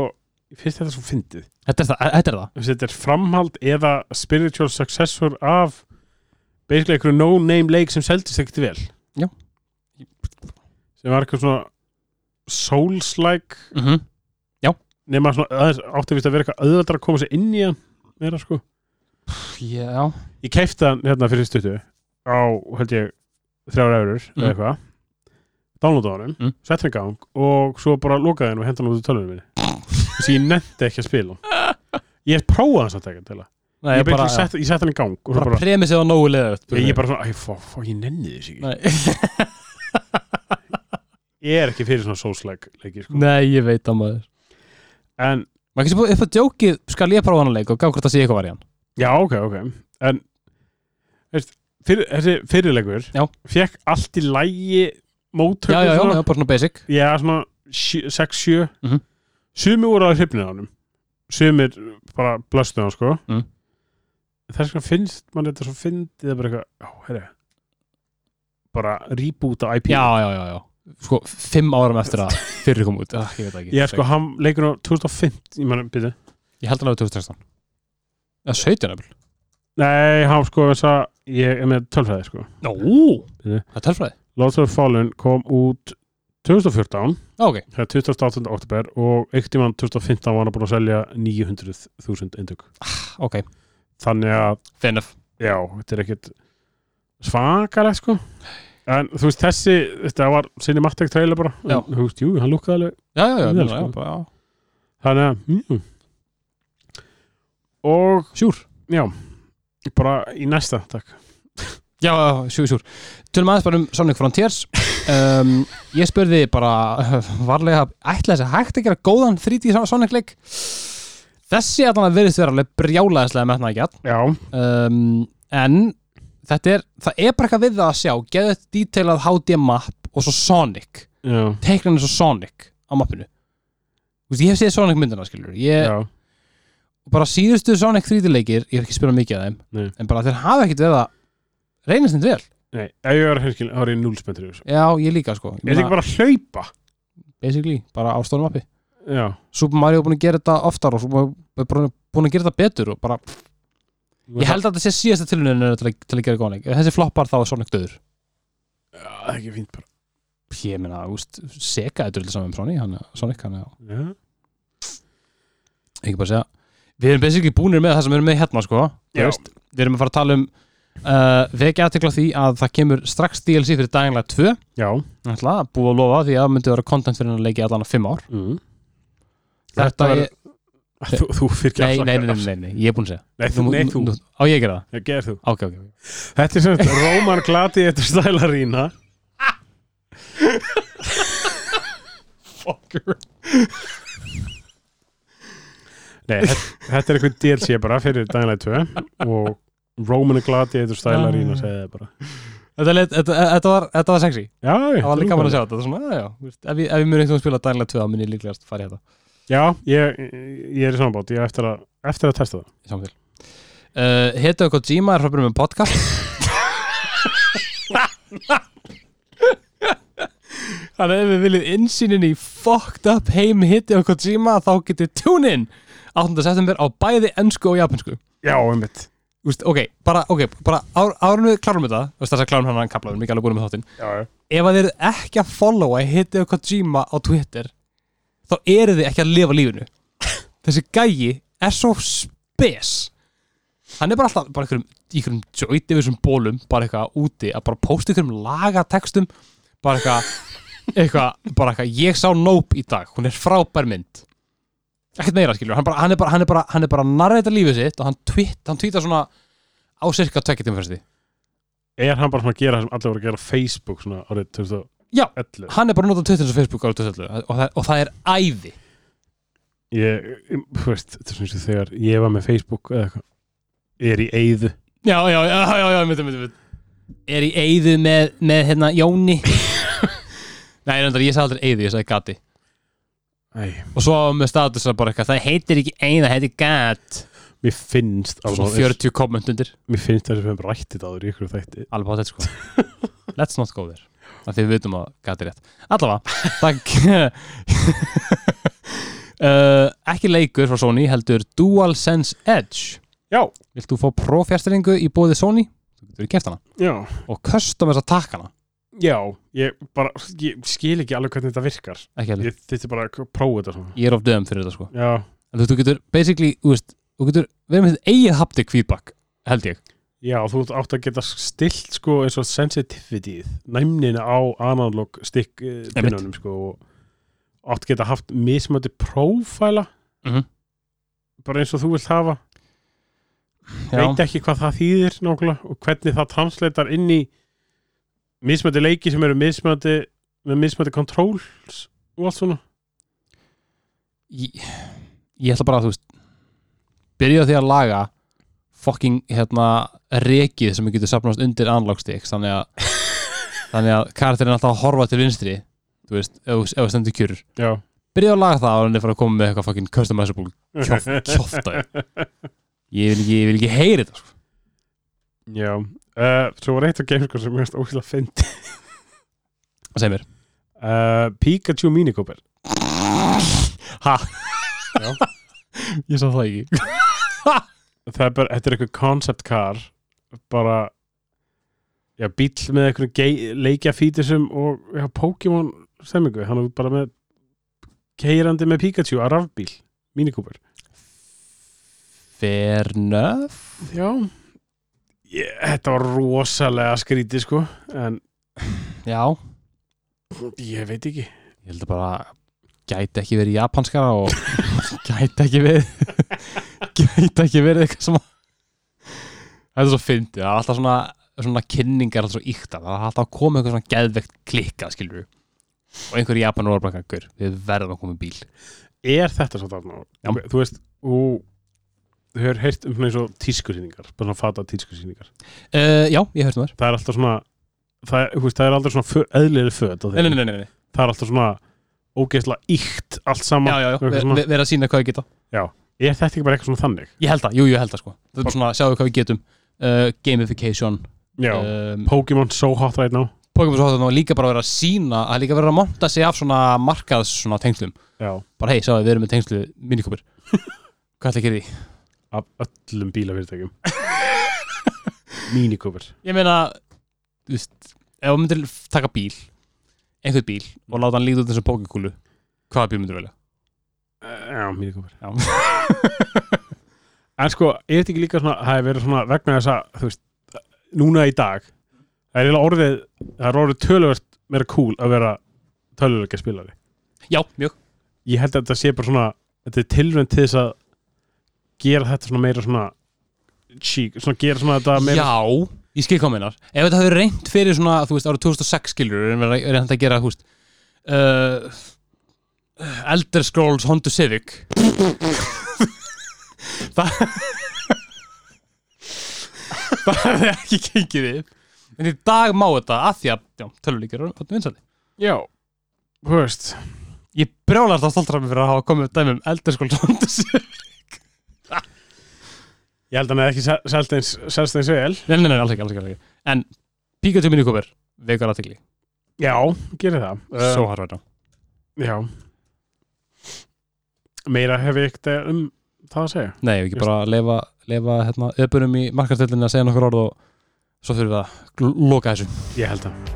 Speaker 2: ég finnst þetta svo fyndið
Speaker 1: Þetta er það, eh, þetta er það
Speaker 2: Þessi, Þetta er framhald eða spiritual successor af basically einhverju no-name leik sem seldist ekkert vel
Speaker 1: Já.
Speaker 2: sem var eitthvað svona souls-like
Speaker 1: mm -hmm.
Speaker 2: nema svona aðeins átti vist að vera eitthvað auðveldar að koma sér inn í hann meira sko
Speaker 1: Já
Speaker 2: ég keipti hann hérna fyrir stuttu á, held ég, þrjára eurur
Speaker 1: Mhm.
Speaker 2: eða eitthvað downloadaði honum,
Speaker 1: Mm.
Speaker 2: setti hann í gang og svo bara lokaði hann og henda hann út úr tölvunum minni þess að ég nefndi ekki að spila hann ég prófaði hann samt ekki til það
Speaker 1: Nei,
Speaker 2: ég, bara, sett, ég setti hann í gang og
Speaker 1: bara,
Speaker 2: svo bara,
Speaker 1: premissið á nógu leður
Speaker 2: ég, ég bara svona, æ, fó, fó, ég nenni þess ekki
Speaker 1: Nei.
Speaker 2: ég er ekki fyrir svona soulslæk leiki sko.
Speaker 1: Nei, ég veit það maður
Speaker 2: en,
Speaker 1: Maður kannski búið upp að djókið Skal ég prófa hann að leika og gá hvort það sé eitthvað var í hann
Speaker 2: já, ok, ok en, veist, fyrir, þessi fyrirleikur
Speaker 1: Já.
Speaker 2: fekk allt í lægi mótöku
Speaker 1: Já, já, já,
Speaker 2: svona.
Speaker 1: já, bara svona basic
Speaker 2: Já, svona 6-7
Speaker 1: Mhm.
Speaker 2: Sumir voru að hrifnið á honum Sumir bara blöstuð hann sko
Speaker 1: Mhm.
Speaker 2: Þess vegna finnst mann þetta svo fyndið að bara eitthvað, já, herri bara reboota IP
Speaker 1: Já, já, já, já Sko, fimm árum eftir
Speaker 2: [laughs]
Speaker 1: að fyrir kom út ah, Ég veit það ekki
Speaker 2: Ég er sko, hann leikur á 2005 Ég mann, byrja
Speaker 1: Ég held að hann hafi 2016 Eða 17 eftir
Speaker 2: Nei, hann sko, þess að ég er með tölfræði sko
Speaker 1: Nó
Speaker 2: Bíddu.
Speaker 1: Það er tölfræði
Speaker 2: Lords of the Fallen kom út 2014
Speaker 1: Ó, Ok,
Speaker 2: Það er 28. oktober og eitt tímann 2015 var hann búin að selja 900.000 eindug
Speaker 1: ok
Speaker 2: Þannig að
Speaker 1: Fair enough
Speaker 2: já, þetta er ekkert svakalegt sko en þú veist þessi, þetta var sinni mattek trailer bara,
Speaker 1: Já.
Speaker 2: en, þú veist, jú, hann lúkkaði alveg
Speaker 1: Já, já, já,
Speaker 2: Vel,
Speaker 1: já,
Speaker 2: sko.
Speaker 1: já, bara, já.
Speaker 2: þannig að, jú og,
Speaker 1: Sjúr
Speaker 2: já bara í næsta, takk
Speaker 1: Já, já, sjúr, sjúr Tölum aðeins bara um Sonic
Speaker 2: [laughs]
Speaker 1: Frontiers um, Ég spurði bara [laughs] varlega ætla þess að hægt að gera góðan 3D Son- Sonic leik Þessi að hann verðist vera alveg brjálaðislega metna ekki
Speaker 2: já,
Speaker 1: um, En þetta er, það er bara eitthvað við það að sjá Geðið detailað HD map og svo Sonic
Speaker 2: já,
Speaker 1: Teiklan eins og Sonic á mappinu Þú veist, ég hef séð Sonic myndina, skilur Ég,
Speaker 2: já
Speaker 1: og bara síðustu Sonic 3D leikir ég er ekki að spila mikið af þeim
Speaker 2: Nei.
Speaker 1: en bara þeir hafa ekkert verið að reynast þeim vel
Speaker 2: nei, ef ég var henskil, þá er ég núlspendur er
Speaker 1: já, ég líka sko ég
Speaker 2: þetta ekki bara að hlaupa
Speaker 1: basically, bara á stórum appi
Speaker 2: já,
Speaker 1: Super Mario er búin að gera þetta oftar og Super Mario er búin að gera þetta betur og bara Ég held að þetta sé síðasta tilhörinu til, að- til að gera góðan leik. Ef þessi floppar þá er Sonic döður.
Speaker 2: Já, það er ekki fínt bara.
Speaker 1: Ég meina, úst, Sega er dörðlega saman um Sonic, hann, Sonic, hann, já.
Speaker 2: Já.
Speaker 1: Ekki bara að segja. Við erum basically búnir með það sem við erum með hérna, sko. Þú
Speaker 2: Já.
Speaker 1: veist, Við erum að fara að tala um uh, vekja aðtekla því að það kemur strax DLC fyrir daginlega 2.
Speaker 2: Já.
Speaker 1: Ég ætla að búa að lofa því að það myndi vera content fyrir hann að leiki allan að 5 ár.
Speaker 2: Mm.
Speaker 1: Þetta
Speaker 2: Þetta
Speaker 1: er...
Speaker 2: verður- [laughs] Þú, þú fyrir ekki
Speaker 1: Nei, nei, nei,
Speaker 2: afsakar-
Speaker 1: nei, nei, nei, ég er búin að segja.
Speaker 2: Nei, þú, nei, þú.
Speaker 1: nú- Á ég að gera það?
Speaker 2: Já, gerð þú.
Speaker 1: Ok, ok, ok.
Speaker 2: Þetta er sem sagt Róman glati eftir stælarína. Fucker. Nei, þetta, þetta er einhvern DLC bara fyrir Dying Light 2 og Roman glati eftir stælarína segði það bara.
Speaker 1: Þetta, leit, þetta, þetta, var, þetta var sexy.
Speaker 2: Já,
Speaker 1: Það var líka gaman að sjá þetta. Það er Svona, já, já, þú veist, ef ég, ef ég mun eitthvað spila Dying Light 2 þá mun ég líklegast fara í þetta.
Speaker 2: Já, ég, ég er í samanbót, ég á eftir að, eftir að testa það.
Speaker 1: Í samfél. Uh, Heta Kojima er frá byrjum með podcast. Þannig að ef við viljið insýnin í fucked up heim Hideo Kojima þá getið tune in 8. september á bæði ennsku og japansku.
Speaker 2: Já, einmitt.
Speaker 1: Úst, ok, bara, okay, bara ár, árun við klárum þetta, þú veist þess að klárum hann hann kaplaðum, mikið alveg búin með þáttinn.
Speaker 2: Já, já.
Speaker 1: ef að þið eru ekki að followa Hideo Kojima á Twitter þá eru þið ekki að lifa lífinu þessi gæi er svo spes hann er bara alltaf bara einhverjum, í einhverjum joyti við þessum bólum bara eitthvað úti að bara posta einhverjum lagatextum bara eitthvað, eitthvað bara eitthvað, ég sá Nope í dag hún er frábær mynd ekkert meira skilur, hann, bara, hann er bara hann er bara, hann er bara að narra þetta lífið sitt og hann twitt, hann twittar svona á cirka tvekkjum fyrst því
Speaker 2: Er hann bara svona að gera það sem allir voru að gera á Facebook svona árið 2011?
Speaker 1: hann er bara að nota Twitter eins og Facebook árið 2011 og, það- og það er æði
Speaker 2: Ég, um, þú veist, þetta er svona eins og þegar ég var með Facebook eða eitthvað, er í eyðu.
Speaker 1: Já, já, já, já, já, myndi, myndi, myndi. Er í eyðu með, með hérna, Jóni [laughs] Nei, reyndar, ég sagði aldrei eyðu, ég sagði gati
Speaker 2: Æ,
Speaker 1: Og svo með status að bara eitthvað, það heitir ekki eyða, það heitir gat
Speaker 2: mér finnst
Speaker 1: Svo
Speaker 2: alveg,
Speaker 1: 40 komment undir,
Speaker 2: mér finnst þess að við hefum rættið áður í ykkur þætti.
Speaker 1: alveg á þetta [laughs] sko Let's not go there Það því við vitum að gat er rétt Allavega, [laughs] takk uh, Ekki leikur frá Sony, heldur DualSense Edge
Speaker 2: Já,
Speaker 1: Vilt þú fá prófjastringu í bóði Sony? Þú getur keft hana
Speaker 2: já,
Speaker 1: Og custom þess að taka hana
Speaker 2: já, ég bara, ég skil ekki alveg hvernig þetta virkar.
Speaker 1: Ekki heldur,
Speaker 2: Ég þýtti bara að prófa þetta svona.
Speaker 1: ég er of döðum fyrir þetta sko
Speaker 2: Já,
Speaker 1: En þú veist, þú getur basically, þú veist, þú getur verið með þetta eigið haptic feedback, held ég.
Speaker 2: já, þú átt að geta stilt sko eins og sensitivityð, næmnina á analog stick eh,
Speaker 1: Einmitt.
Speaker 2: pinnunum sko og átt að geta haft mismöndi prófæla,
Speaker 1: Mhm.
Speaker 2: bara eins og þú vilt hafa. veit
Speaker 1: Já,
Speaker 2: ekki hvað það þýðir nákvæmlega og hvernig það translatar inn í mismöndi leiki sem eru mismöndi með mismöndi controls og allt svona
Speaker 1: ég, ég ætla bara að, þú veist, byrja á því að laga fucking, hérna, rekið sem getur sapnast undir analog sticks, þannig að, þannig að karakterinn er alltaf að horfa til vinstri, þú veist, ef þú- ef það stendur kjur.
Speaker 2: Já
Speaker 1: Byrja á að laga það ára en þið fara að koma með eitthvað fucking customizable kjófta. Ég vil ekki, ég vil ekki heyri þetta, sko.
Speaker 2: Já uh, Svo var eitt af gameskur sem mjögst óslega fyndi
Speaker 1: Segð sko, mér.
Speaker 2: uh, Pikachu Minikóper
Speaker 1: Ha?
Speaker 2: Já.
Speaker 1: [laughs] Ég sá það ekki.
Speaker 2: Það er bara, þetta er eitthvað concept car bara já, bíll með eitthvað leikja fítisum og já, Pokémon stemmingu, hann er bara með keirandi með Pikachu að rafbíl Minikóper
Speaker 1: Fair enough.
Speaker 2: Já ég, Þetta var rosalega skrítið sko en
Speaker 1: Já.
Speaker 2: ég veit ekki
Speaker 1: ég held að bara gæti ekki verið japanskara og [laughs] gæti ekki verið [laughs] gæti ekki verið eitthvað sem þetta er svo fyndið það er alltaf svona, svona kynningar alltaf svo íkta það er alltaf að koma eitthvað svona geðvegt klikka skilur og einhver í Japan voru bara eitthvað við verðum að koma með bíl
Speaker 2: Er þetta svo þarna?
Speaker 1: Já.
Speaker 2: Ok, Þú veist, þú þú hefur heyrt um svona eins og tískusýningar bara svona fata tískusýningar
Speaker 1: uh, já, ég hörst maður
Speaker 2: Það er alltaf svona það, er- þú veist, það er aldrei svona eðlilega föt á þeim.
Speaker 1: nei, nei, nei, nei, nei.
Speaker 2: Það er alltaf svona ógeðslega íkt allt
Speaker 1: já,
Speaker 2: saman
Speaker 1: já, já,
Speaker 2: eitthvað
Speaker 1: við,
Speaker 2: svona.
Speaker 1: við, við erum að sína hvað við geta
Speaker 2: Er þetta ekki bara eitthvað svona þannig?
Speaker 1: ég held það, jú, jú, ég held það sko það er bara svona, sjáðu hvað við getum uh, gamification
Speaker 2: Já
Speaker 1: um,
Speaker 2: Eh, Pokémon so hot right now
Speaker 1: Pokémon svo hóttan var líka bara að vera að sína að líka vera að monta sig af svona markaðs svona tengslum
Speaker 2: Já
Speaker 1: bara hei, sjáðu, við erum með tengslu minikópir hvað ætla að gera í því?
Speaker 2: af öllum bílafyrirtækjum [laughs] Mini Cooper
Speaker 1: ég meina þú veist, ef þú myndir taka bíl einhvern bíl og láta hann líta út eins og pókikúlu hvaða bíl myndir velja?
Speaker 2: Já, Mini Cooper
Speaker 1: Já. [laughs]
Speaker 2: En sko, er þetta ekki líka svona, það hefur verið svona vegna þess að, þú veist, núna í dag það er eiginlega orðið, það er orðið töluvert meira cool að vera töluleika spilari.
Speaker 1: Já, mjög
Speaker 2: Ég held að þetta sé bara svona, þetta er tilvend til þess að gera þetta svona meira svona chic, svona gera svona þetta meira
Speaker 1: Já, ég skil hvað minnar Ef þetta hefur reynd fyrir svona, þú veist, árið 2006 skilur en verið reynd að gera, þú veist uh, Elder Scrolls Honda Civic [laughs] Það [laughs] Það hefði ekki gengið upp En í dag má þetta að því að, já, tölvulíkir eru orðnir vinsæli
Speaker 2: Já, þú veist
Speaker 1: Ég brjólar það stoltra mig fyrir að hafa komið upp dæmi um Elder Scrolls Honda Civic
Speaker 2: Ég held að hann hefði ekki sel- selst eins, selst eins vel
Speaker 1: Nei, nei, nei, alls ekki, alls ekki, alls ekki. En Pikachu minnikover, veikar aðtegli
Speaker 2: Já, gerir það Eh,
Speaker 1: Svo harfa þetta
Speaker 2: Já Meira hef ég ekkert um það að segja
Speaker 1: Nei, ef ekki
Speaker 2: Just-
Speaker 1: bara lefa, lefa hérna, öpunum í markastöldinu að segja nokkur orð og svo þurfum við að gl- loka þessu.
Speaker 2: Ég held það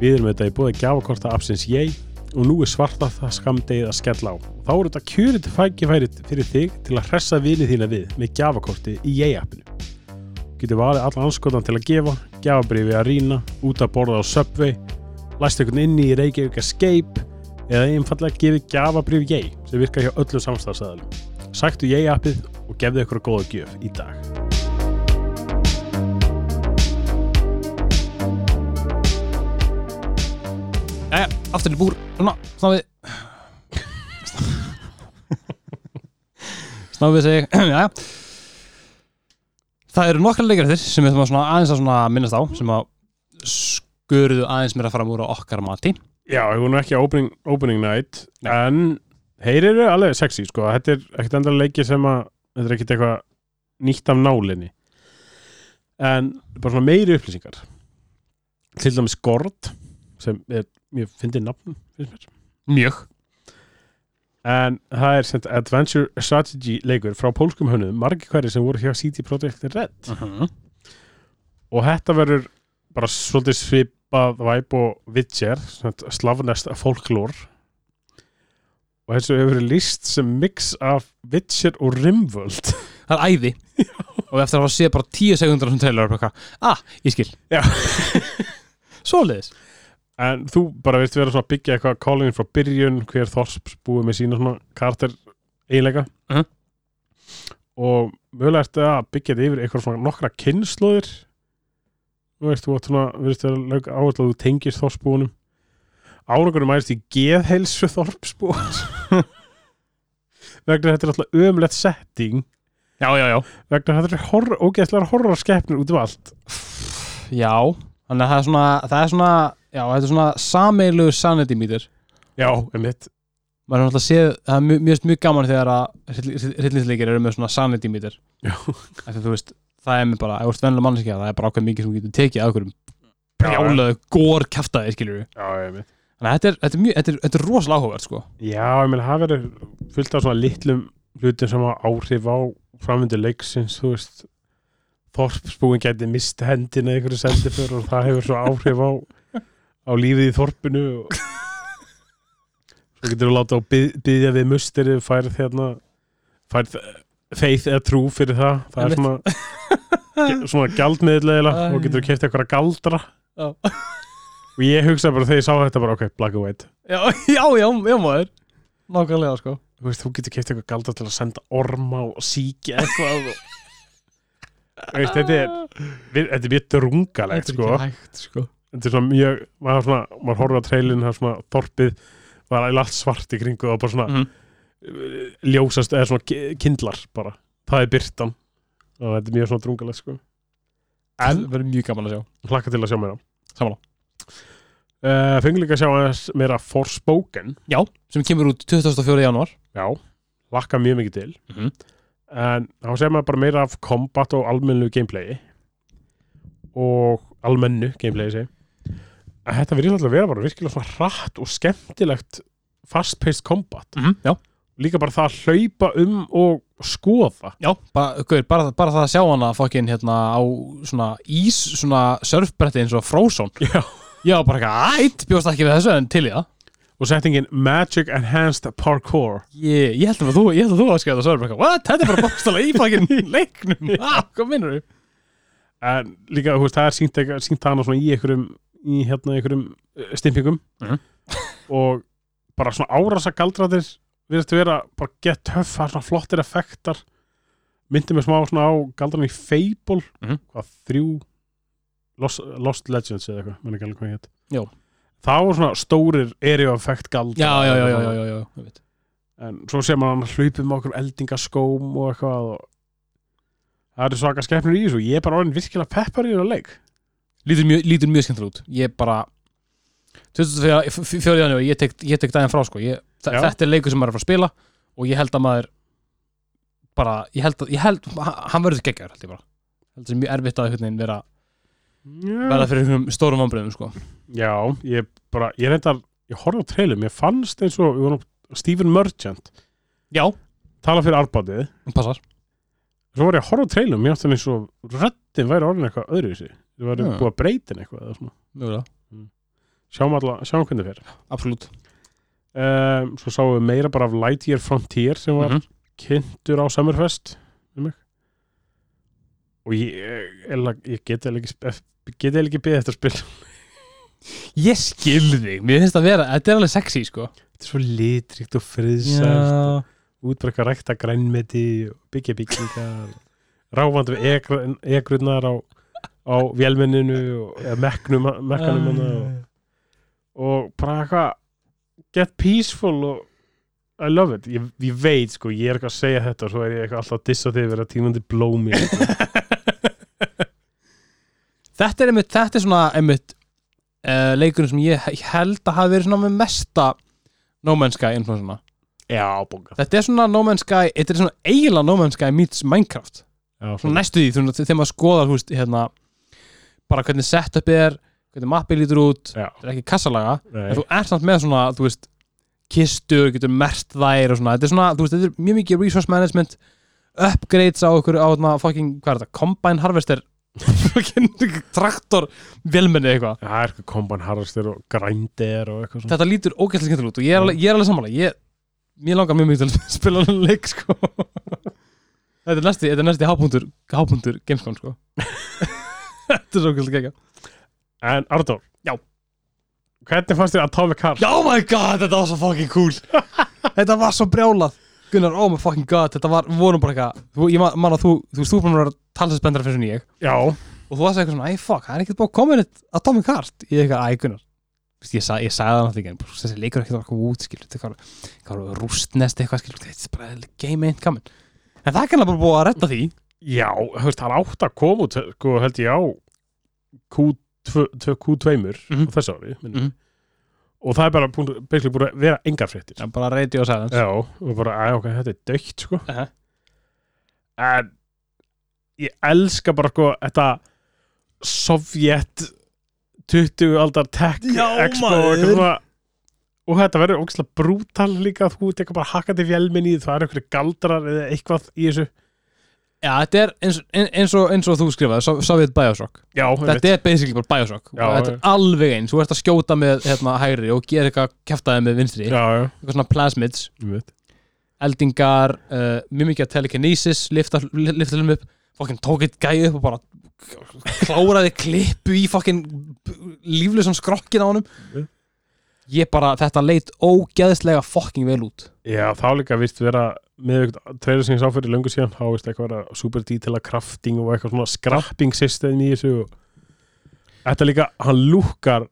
Speaker 2: Við erum þetta í búið gjafakorta Absins ég og nú er svarta það skamdegið að skella á og þá eru þetta kjörið fækifærið fyrir þig til að hressa vinið þína við með gjafakorti í ég appinu getur valið allan anskotan til að gefa gjafabrifi að rýna, út að borða á Subway læst einhvern inni í Reykjavík Escape eða einfallega gefið gjafabrifi ég sem virkar hjá öllum samstafsæðalum Sæktu ég appið og gefðu ykkur góða gjöf í dag
Speaker 1: Jæja, aftur í búr, hérna, svona, sná við. sná við segi, [clears throat] jæja. Það eru nokkra leikar þér sem við þurfum að svona aðeins að svona minnast á, sem að skurðu aðeins mér að fara úr á okkar mati.
Speaker 2: Já, ég voru nú ekki á opening, opening night en þeir eru alveg sexy sko, þetta er ekkert endra leiki sem að þetta er ekkert eitthvað nýtt af nálinni en bara svona meiri upplýsingar til dæmis Gord sem er, ég fyndi nafn finnst mér
Speaker 1: Mjög.
Speaker 2: En það er sem sagt Adventure Strategy leikur frá pólskum hönnum, margir hverjir sem voru hjá CD Projekt Red
Speaker 1: Uh -huh.
Speaker 2: og þetta verður bara svolítið svipað væp og Witcher, svona slavnest folklór og þessu hefur verið list sem mix af Witcher og Rimworld
Speaker 1: Það er æði. og eftir að hafa séð bara tíu sekundar sem trailer, bara eitthvað, ah, ég skil.
Speaker 2: Já.
Speaker 1: Svoleiðis.
Speaker 2: en þú bara veist vera svona að byggja eitthvað kólinn frá byrjun, hver þorps búið með sína svona karakter eiginleika
Speaker 1: Mhm.
Speaker 2: og mögulega ertu að byggja þetta yfir eitthvað svona nokkra kynnslóðir þú veist, þú átt svona, verðist vera lög áherslu að þú tengist þorpsbúunum árangurum mælist í geðhelsu þorpsbúar [laughs] vegna þetta er alltaf ömlegt setting
Speaker 1: Já, já, já.
Speaker 2: vegna þetta er horror, ógeðslega horrorskeppnir út um allt
Speaker 1: Já, þannig að það er svona, það er svona, já, þetta er svona sameilugur sanity meter.
Speaker 2: já, einmitt
Speaker 1: Maður er náttúrulega séð, það er mjög, mjög, mjög gaman þegar að hryllinsleikir eru með svona sanity meter.
Speaker 2: Já.
Speaker 1: Af því að þú veist, það er mér bara, ef þú ert vennilega manneskja, það er bara ákveð mikið sem þú getur tekið að okkurum brjálaðu gór kæftæði, skiljur við.
Speaker 2: já, einmitt
Speaker 1: Þannig að þetta er, þetta er mjög, þetta er, þetta er rosalega áhugavert, sko.
Speaker 2: Já, ég meina, það verður fullt af svona litlum hlutum sem á áhrif á framvindu leiksins, þú veist þorpsbúin gæti mist hendina í einhverju sendi fyrir og það hefur svo áhrif á, á lífið í þorpinu og svo getur við láta á byð, byðja við musteri færð hérna færð feith eða trú fyrir það það er svona, ge- svona gjaldmiðlega
Speaker 1: Æ.
Speaker 2: og getur við kæft eitthvað galdra
Speaker 1: Já.
Speaker 2: og ég hugsa bara þegar ég sá þetta bara ok, black and white
Speaker 1: Já, [laughs] já, já, já, maður. Nákvæmlega, sko.
Speaker 2: þú veist, þú getur keipt eitthvað galdra til að senda orma og síkja eitthvað og...
Speaker 1: sko.
Speaker 2: Þú veist, sko. þetta
Speaker 1: Ah.
Speaker 2: er við- þetta er mjög drungalegt sko.
Speaker 1: ekki hægt, sko.
Speaker 2: þetta er svona mjög maður, svona, maður horfður á trailin, það er svona þorpið var eiginlega allt svart í kringu og bara svona eh,
Speaker 1: Mhm.
Speaker 2: ljósast eða svona ki- kindlar bara, það er byrtan og þetta er mjög svona drungalegt sko.
Speaker 1: En, verður mjög gaman að sjá.
Speaker 2: hlakka til að sjá meira
Speaker 1: Sammála.
Speaker 2: uh, fengur líka að sjá aðeins meira Forspoken
Speaker 1: Já, sem kemur út 24. janúar.
Speaker 2: já, hlakka mjög mikið til
Speaker 1: Mhm.
Speaker 2: en þá segir maður bara meira af kombat og almennu gameplayi og almennu gameplayi segi að þetta verður alltaf að vera bara virkilega svona hratt og skemmtilegt fast-paced kombat
Speaker 1: Mm -hmm. Já.
Speaker 2: líka bara það að hlaupa um og skoða
Speaker 1: Já, bara, guður, bara, bara það að sjá hana fokkin hérna á svona ís svona surfbretti eins og Frozen
Speaker 2: Já.
Speaker 1: Já, bara eitthvað, ætt, bjóst ekki við þessu en til í það
Speaker 2: og settingin Magic Enhanced Parkour
Speaker 1: Ég, ég held að þú, ég held að þú að skrifa það surfbretti What? Þetta er bara bókstala í fokkin [laughs] leiknum ah, Hvað minnur þú?
Speaker 2: en líka, þú veist, það er sínt, eitthvað- sínt hana svona í einhverjum, í hérna einhverjum eh, stimpingum
Speaker 1: Mhm.
Speaker 2: og bara svona árasa galdratir virðist að vera bara get töff það er svona flottir effektar myndi mig smá svona á galdran í Fable
Speaker 1: Mhm.
Speaker 2: hvað þrjú Lost, Lost Legends eða eitthvað, menn ekki alveg hvað ég hétt
Speaker 1: Jó.
Speaker 2: það var svona stórir area effect galdra
Speaker 1: Já, já, já, já, já, já, já, ég veit
Speaker 2: en svo sé maður hann hlaupið með okkur eldingaskóm og eitthvað og það eru svaka skepnur í þessu ég er bara orðin virkilega peppar í þessu leik
Speaker 1: Lítur mjög, lítur mjög skemmtilega út Ég bara 24. janúar, ég tek, ég tek daginn frá sko ég, þa-
Speaker 2: Já.
Speaker 1: Þetta er leikur sem maður er að fara að spila og ég held að maður bara, ég held að, ég held hann verður geggjar, held ég bara Held að það er mjög erfitt að einhvern veginn vera
Speaker 2: Mm.
Speaker 1: verða fyrir einhverjum stórum vambriðum sko.
Speaker 2: já, ég bara, ég reyndar ég horfði á trailum, ég fannst eins og við vorum á Stephen Merchant,
Speaker 1: Já,
Speaker 2: tala fyrir arbáttið
Speaker 1: hún passar
Speaker 2: svo var ég að horfa á trailum, mér átti hann eins og röddin væri orðin eitthvað öðru í sig þau væri
Speaker 1: Já.
Speaker 2: búið að breyta henni eitthvað eða svona.
Speaker 1: Mögulega,
Speaker 2: sjáum, alla, sjáum hvernig fyrir
Speaker 1: absolutt
Speaker 2: um, svo sáum við meira bara af Lightyear Frontier sem var
Speaker 1: Mhm.
Speaker 2: kynntur á Summerfest um mig. og ég, ég, ég geti ekki geti eiginlega ekki beðið eftir að spila
Speaker 1: Ég skil þig, mér finnst að vera, þetta er alveg sexy sko
Speaker 2: þetta er svo litrikt og friðsælt útbrekka rækta grænmeti og byggja byggingar ráfandi við egr- egrurnar á, á vélmenninu og eða mekknum mekkanum hana hérna og, og bara eitthvað get peaceful og I love it, ég, ég veit sko ég er eitthvað að segja þetta og svo er ég eitthvað alltaf að dissa þig verið að tímandi blómi sko.
Speaker 1: [laughs] Þetta er einmitt, þetta er svona einmitt uh, leikurinn sem ég he- held að hafi verið svona með mesta No Man's Sky influensuna
Speaker 2: já, bóka
Speaker 1: Þetta er svona No Man's Sky, þetta er svona eiginlega No Man's Sky meets Minecraft
Speaker 2: já,
Speaker 1: Svona næstu því, svona, þegar maður skoðar húst, hérna, bara hvernig setupið er hvernig mappið lítur út,
Speaker 2: já,
Speaker 1: þetta er ekki kassalaga
Speaker 2: nei,
Speaker 1: en þú ert samt með svona, þú veist kistur, getur mert þær og svona þetta er svona, þú veist, þetta er mjög mikið resource management upgrades á okkur á þarna fucking, hvað er þetta, combine harvester [laughs] fucking traktor velmenni eitthvað,
Speaker 2: það er eitthvað komban harrastir og grændir og eitthvað svona
Speaker 1: þetta lítur ógætlega skemmtilega út og ég er alveg, ég er alveg sammála ég, mér langar mjög mikið til að [laughs] spila hann leik sko þetta er næsti, þetta er næsti hápunktur, hápunktur gamescom sko [laughs] þetta er svo okkur gegja
Speaker 2: en Ardór,
Speaker 1: Já.
Speaker 2: hvernig fannst þér Atomic Heart?
Speaker 1: Já my god, þetta var svo fucking cool Þetta var svo brjálað Gunnar, oh my fucking god, þetta var, við vorum bara eitthvað Þú- Ég man- man að þú, þú veist, þú búin að vera talsespendara fyrir en ég
Speaker 2: já,
Speaker 1: Og þú varst eitthvað svona, æ fuck, það er ekkert búin að koma inn eitt Atomic Heart Ég eitthvað, æ Gunnar Þú veist, Ég, sa, ég sagði það náttúrulega, ekki, en bara, þessi leikur er ekkert að koma út, skilur Þetta var, hvað var rústnest eitthvað, skilur Þetta er bara game ain't coming En það er kannski bara búið að redda því
Speaker 2: Já, þú veist, hann átt að koma út sko, held ég á Q2, tvö- Q2 mm
Speaker 1: Mhm.
Speaker 2: á þessu ári mm
Speaker 1: Mhm.
Speaker 2: og það er bara búin, basically búin að vera engar fréttir
Speaker 1: Já, bara radio silence
Speaker 2: Já, og bara, að, ok, þetta er dögt sko.
Speaker 1: Aha.
Speaker 2: en ég elska bara sko, þetta sovjet 20 aldar tech
Speaker 1: Já,
Speaker 2: expo
Speaker 1: maður.
Speaker 2: eitthvað svona og þetta verður ógæslega brútal líka þú tekur bara hakkandi fjálminni það er einhverju galdrar eða eitthvað í þessu
Speaker 1: Já, þetta er eins, eins, og, eins og þú skrifaði, Sov- Soviet Bioshock
Speaker 2: Já, einmitt.
Speaker 1: þetta er basically bara Bioshock
Speaker 2: Já,
Speaker 1: og þetta er alveg eins, þú ert að skjóta með hérna, hægri og gera eitthvað kæftaði með vinstri
Speaker 2: já, já,
Speaker 1: eitthvað svona plasmids,
Speaker 2: ég veit
Speaker 1: eldingar uh, mjög mikið að telekinesis, lifta li- lifta hljum upp, fokkin tók eitt gæði upp og bara kláraði klippu í fokkin líflösan skrokkin á honum
Speaker 2: Mm.
Speaker 1: ég bara, þetta leit ógeðslega fokkin vel út
Speaker 2: Já, þá líka vist vera með treyður sem ég sá fyrir löngu síðan þá vist eitthvað vera super detaila crafting og eitthvað svona scrapping system í þessu og þetta líka, hann lúkar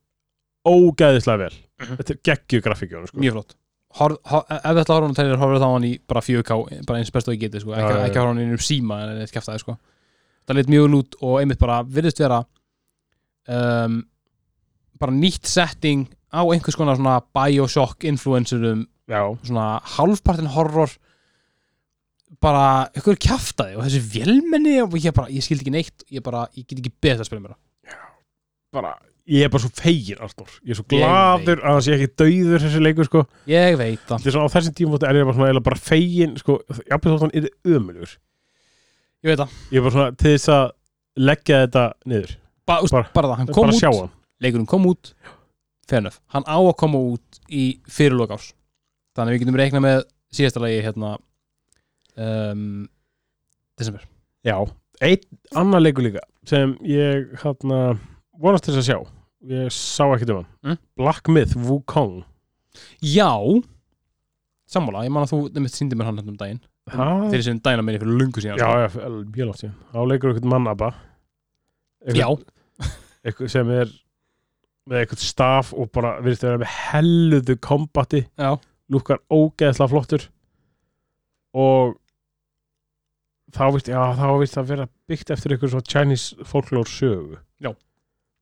Speaker 2: ógæðislega vel þetta er geggju grafíkjónu sko.
Speaker 1: Mhm. mjög flott Hor, hor, ef þetta horfa hann tælir, horfa þá hann í bara 4K, bara eins best og ég geti sko. ekki,
Speaker 2: Já, já, já.
Speaker 1: ekki horfa hann inn um síma en eitt kæftaði sko. það leitt mjög lút og einmitt bara virðist vera um, bara nýtt setting á einhvers konar svona Bioshock influencerum,
Speaker 2: Já,
Speaker 1: svona halfpartin horror bara ykkur kæftaði og þessi vélmenni og ég bara, ég skildi ekki neitt ég bara, ég get ekki betra að spila mér
Speaker 2: bara ég er bara svo feigir Arnór, ég er svo
Speaker 1: Ég
Speaker 2: gladur að það sé ekki dauður þessi leikur sko
Speaker 1: Ég veit það
Speaker 2: Þetta er svona á þessum tímum er ég bara svona eiginlega bara fegin sko, jafnveg þótt hann er ömulugur
Speaker 1: Ég veit það
Speaker 2: ég er bara svona til þess að leggja þetta niður,
Speaker 1: Ba, úst, bara,
Speaker 2: Bara-
Speaker 1: það, hann kom
Speaker 2: bara
Speaker 1: út
Speaker 2: sjá hann
Speaker 1: Leikurinn kom út Fernöf Hann á að koma út í fyrirlok árs Þannig að við getum reiknað með síðasta lagi hérna um, Desember
Speaker 2: Já, einn annar leikur líka sem ég hérna vonast til þess að sjá ég sá ekkert um hann,
Speaker 1: Mm.
Speaker 2: Black Myth Wukong
Speaker 1: Já Sammála, ég man að þú nefnt síndi mér hann hérna um daginn
Speaker 2: ha?
Speaker 1: Þeir sem dæna minni fyrir lungu síðan sko.
Speaker 2: Já, já, el- mjög langt síðan þá leikur einhvern mannaba
Speaker 1: já.
Speaker 2: eitthvað sem er með eitthvað staf og bara virðist að vera með helluðu kombati
Speaker 1: já.
Speaker 2: lúkkar ógeðslega flottur og þá vist, já, þá vist að vera byggt eftir eitthvað svona Chinese folklore sögu
Speaker 1: Já.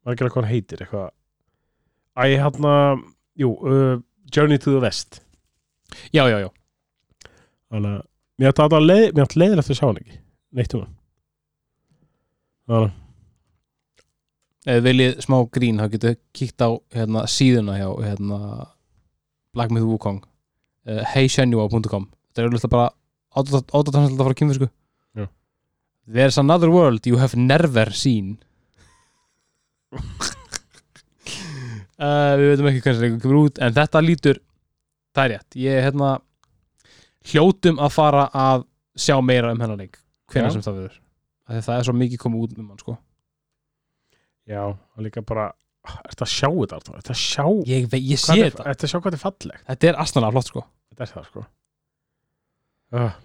Speaker 2: var ekki alveg hvað hann heitir eitthvað Æ, hérna, jú uh, Journey to the West
Speaker 1: já, já, já
Speaker 2: þannig að mér átti að leið, mér átti leiðilegt að sjá hann ekki neitt um hann þannig að,
Speaker 1: Ef þið viljið smá grín þá getur kíkt á hérna, síðuna hjá hérna, Black Myth Wukong uh, heyshenua.com Þetta er auðvitað bara áttatanslita frá kynfisku
Speaker 2: Já.
Speaker 1: There's another world you have never
Speaker 2: [laughs]
Speaker 1: seen uh, Við veitum ekki hvernig það kemur út en þetta lítur það er rétt ég hérna hljótum að fara að sjá meira um hennar leik
Speaker 2: Já.
Speaker 1: hvenær sem það verður Af því að það er svo mikið komið út um hann sko
Speaker 2: já, hann líka bara "Ah, ertu að sjá þetta, Arnór? ertu að sjá
Speaker 1: Ég, vei, ég sé
Speaker 2: hvað er-
Speaker 1: þetta
Speaker 2: ertu að sjá hvað þetta er fallegt
Speaker 1: Þetta er astanlega flott sko
Speaker 2: Þetta er það sko uh.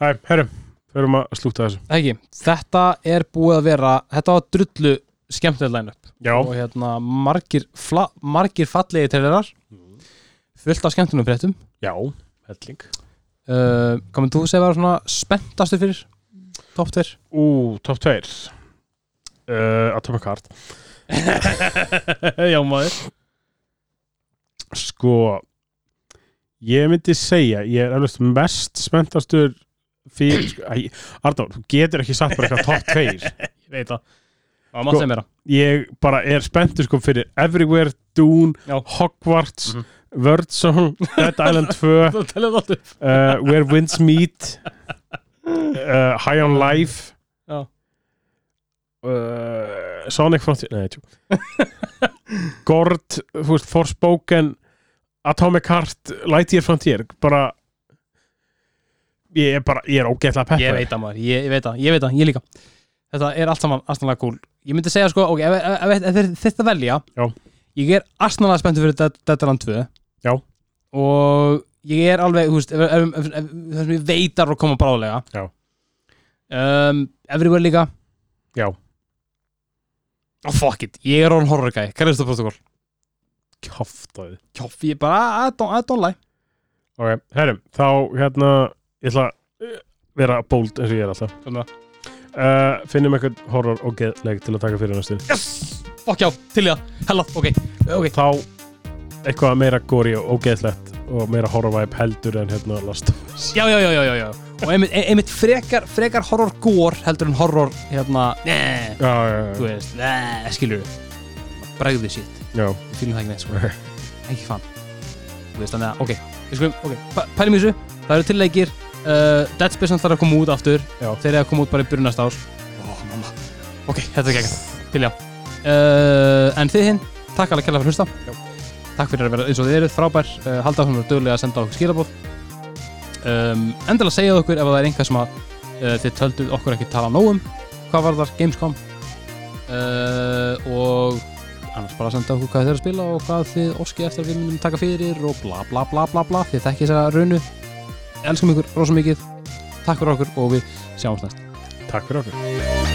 Speaker 2: Æ, herrum Förum að slúta þessu
Speaker 1: Ekki, Þetta er búið að vera Þetta var drullu skemmtileg line-up
Speaker 2: Já,
Speaker 1: Og hérna margir, fla, margir fallegi trailerar Fullt af skemmtunum fréttum
Speaker 2: já, helling
Speaker 1: uh, Komum þú segja að vera svona spenntastu fyrir Topp tver
Speaker 2: Ú, topp tveir uh, Atomic Heart
Speaker 1: Já maður
Speaker 2: Sko Ég myndi segja, ég er alveg mest spenntastur fyrir, sko, æ, Arnór, þú getur ekki sagt bara eitthvað topp tveir
Speaker 1: Ég veit það Það maður
Speaker 2: Sko-
Speaker 1: segja [laughs] meira
Speaker 2: ég bara er spenntur sko fyrir Everywhere, Dune,
Speaker 1: Já.
Speaker 2: Hogwarts
Speaker 1: Mhm.
Speaker 2: Wordsong, Dead
Speaker 1: [laughs]
Speaker 2: Island 2
Speaker 1: Það telur það upp
Speaker 2: uh, Where Winds Meet uh, High on Life
Speaker 1: Já.
Speaker 2: uh, Sonic Frontier Nei, tjú [laughs] Gord, þú veist, Forspoken Atomic Heart, Lightyear Frontier bara ég er bara, ég er ógeðlega peppa
Speaker 1: Ég veit það maður, ég, ég veit það, ég veit það, ég líka Þetta er allt saman astanlega cool Ég myndi segja sko, ok, ef, ef, ef, ef þeir þetta velja
Speaker 2: Já.
Speaker 1: Ég er astanlega spenntur fyrir Dead- Dead Island 2
Speaker 2: Já.
Speaker 1: Og ég er alveg, þú veist, ef, ef, ef, ef, það sem ég veitar að koma bráðlega
Speaker 2: Já.
Speaker 1: um, Everywhere líka
Speaker 2: Já.
Speaker 1: Oh fuck it, ég er on horror guy, hvað er þetta protokoll?
Speaker 2: kjaftaði
Speaker 1: Kjóf, ég bara, I don't, I don't lie
Speaker 2: ok, herrum, þá hérna ég ætla að eh, vera bold eins og ég er alltaf
Speaker 1: Svona.
Speaker 2: uh, finnum eitthvað horror og geðleg til að taka fyrir næstu
Speaker 1: Yes, fuck já, til í það, hella, ok, ok
Speaker 2: þá eitthvað meira góri og ógeðslegt og meira horrorvæp heldur en hérna last of us
Speaker 1: já, já, já, já, já, já. og einmitt, ein- einmitt frekar, frekar horror gór heldur en horror hérna, neee,
Speaker 2: já, já,
Speaker 1: þú veist neee, skilur bregðu shit,
Speaker 2: já,
Speaker 1: við fylgum það ekki neitt sko. ekki fan þú veist þannig að, ok, við skulum, ok pæ- pælum í þessu, það eru tilleggir uh, Dead Space hann þarf að koma út aftur
Speaker 2: Já.
Speaker 1: þeir eru að koma út bara í byrjun næsta árs oh, mamma. ok, þetta er gegn til já uh, en þið hinn, takk alveg kærlega fyrir að hlusta
Speaker 2: Já.
Speaker 1: takk fyrir að vera eins og þið eruð frábær uh, halda áfram að dögulega að senda okkur skilabóð um, endilega segja okkur ef það er einhvað sem að uh, þið tölduð okkur ekki tala nóg um hvað var þar Gamescom uh, og annars bara senda okkur hvað þið eru að spila og hvað þið óskið eftir að við munum taka fyrir og bla bla bla bla bla þið þekkið þess að raunu elskum ykkur rosa mikið takk fyrir okkur og við sjáumst næst
Speaker 2: takk fyrir okkur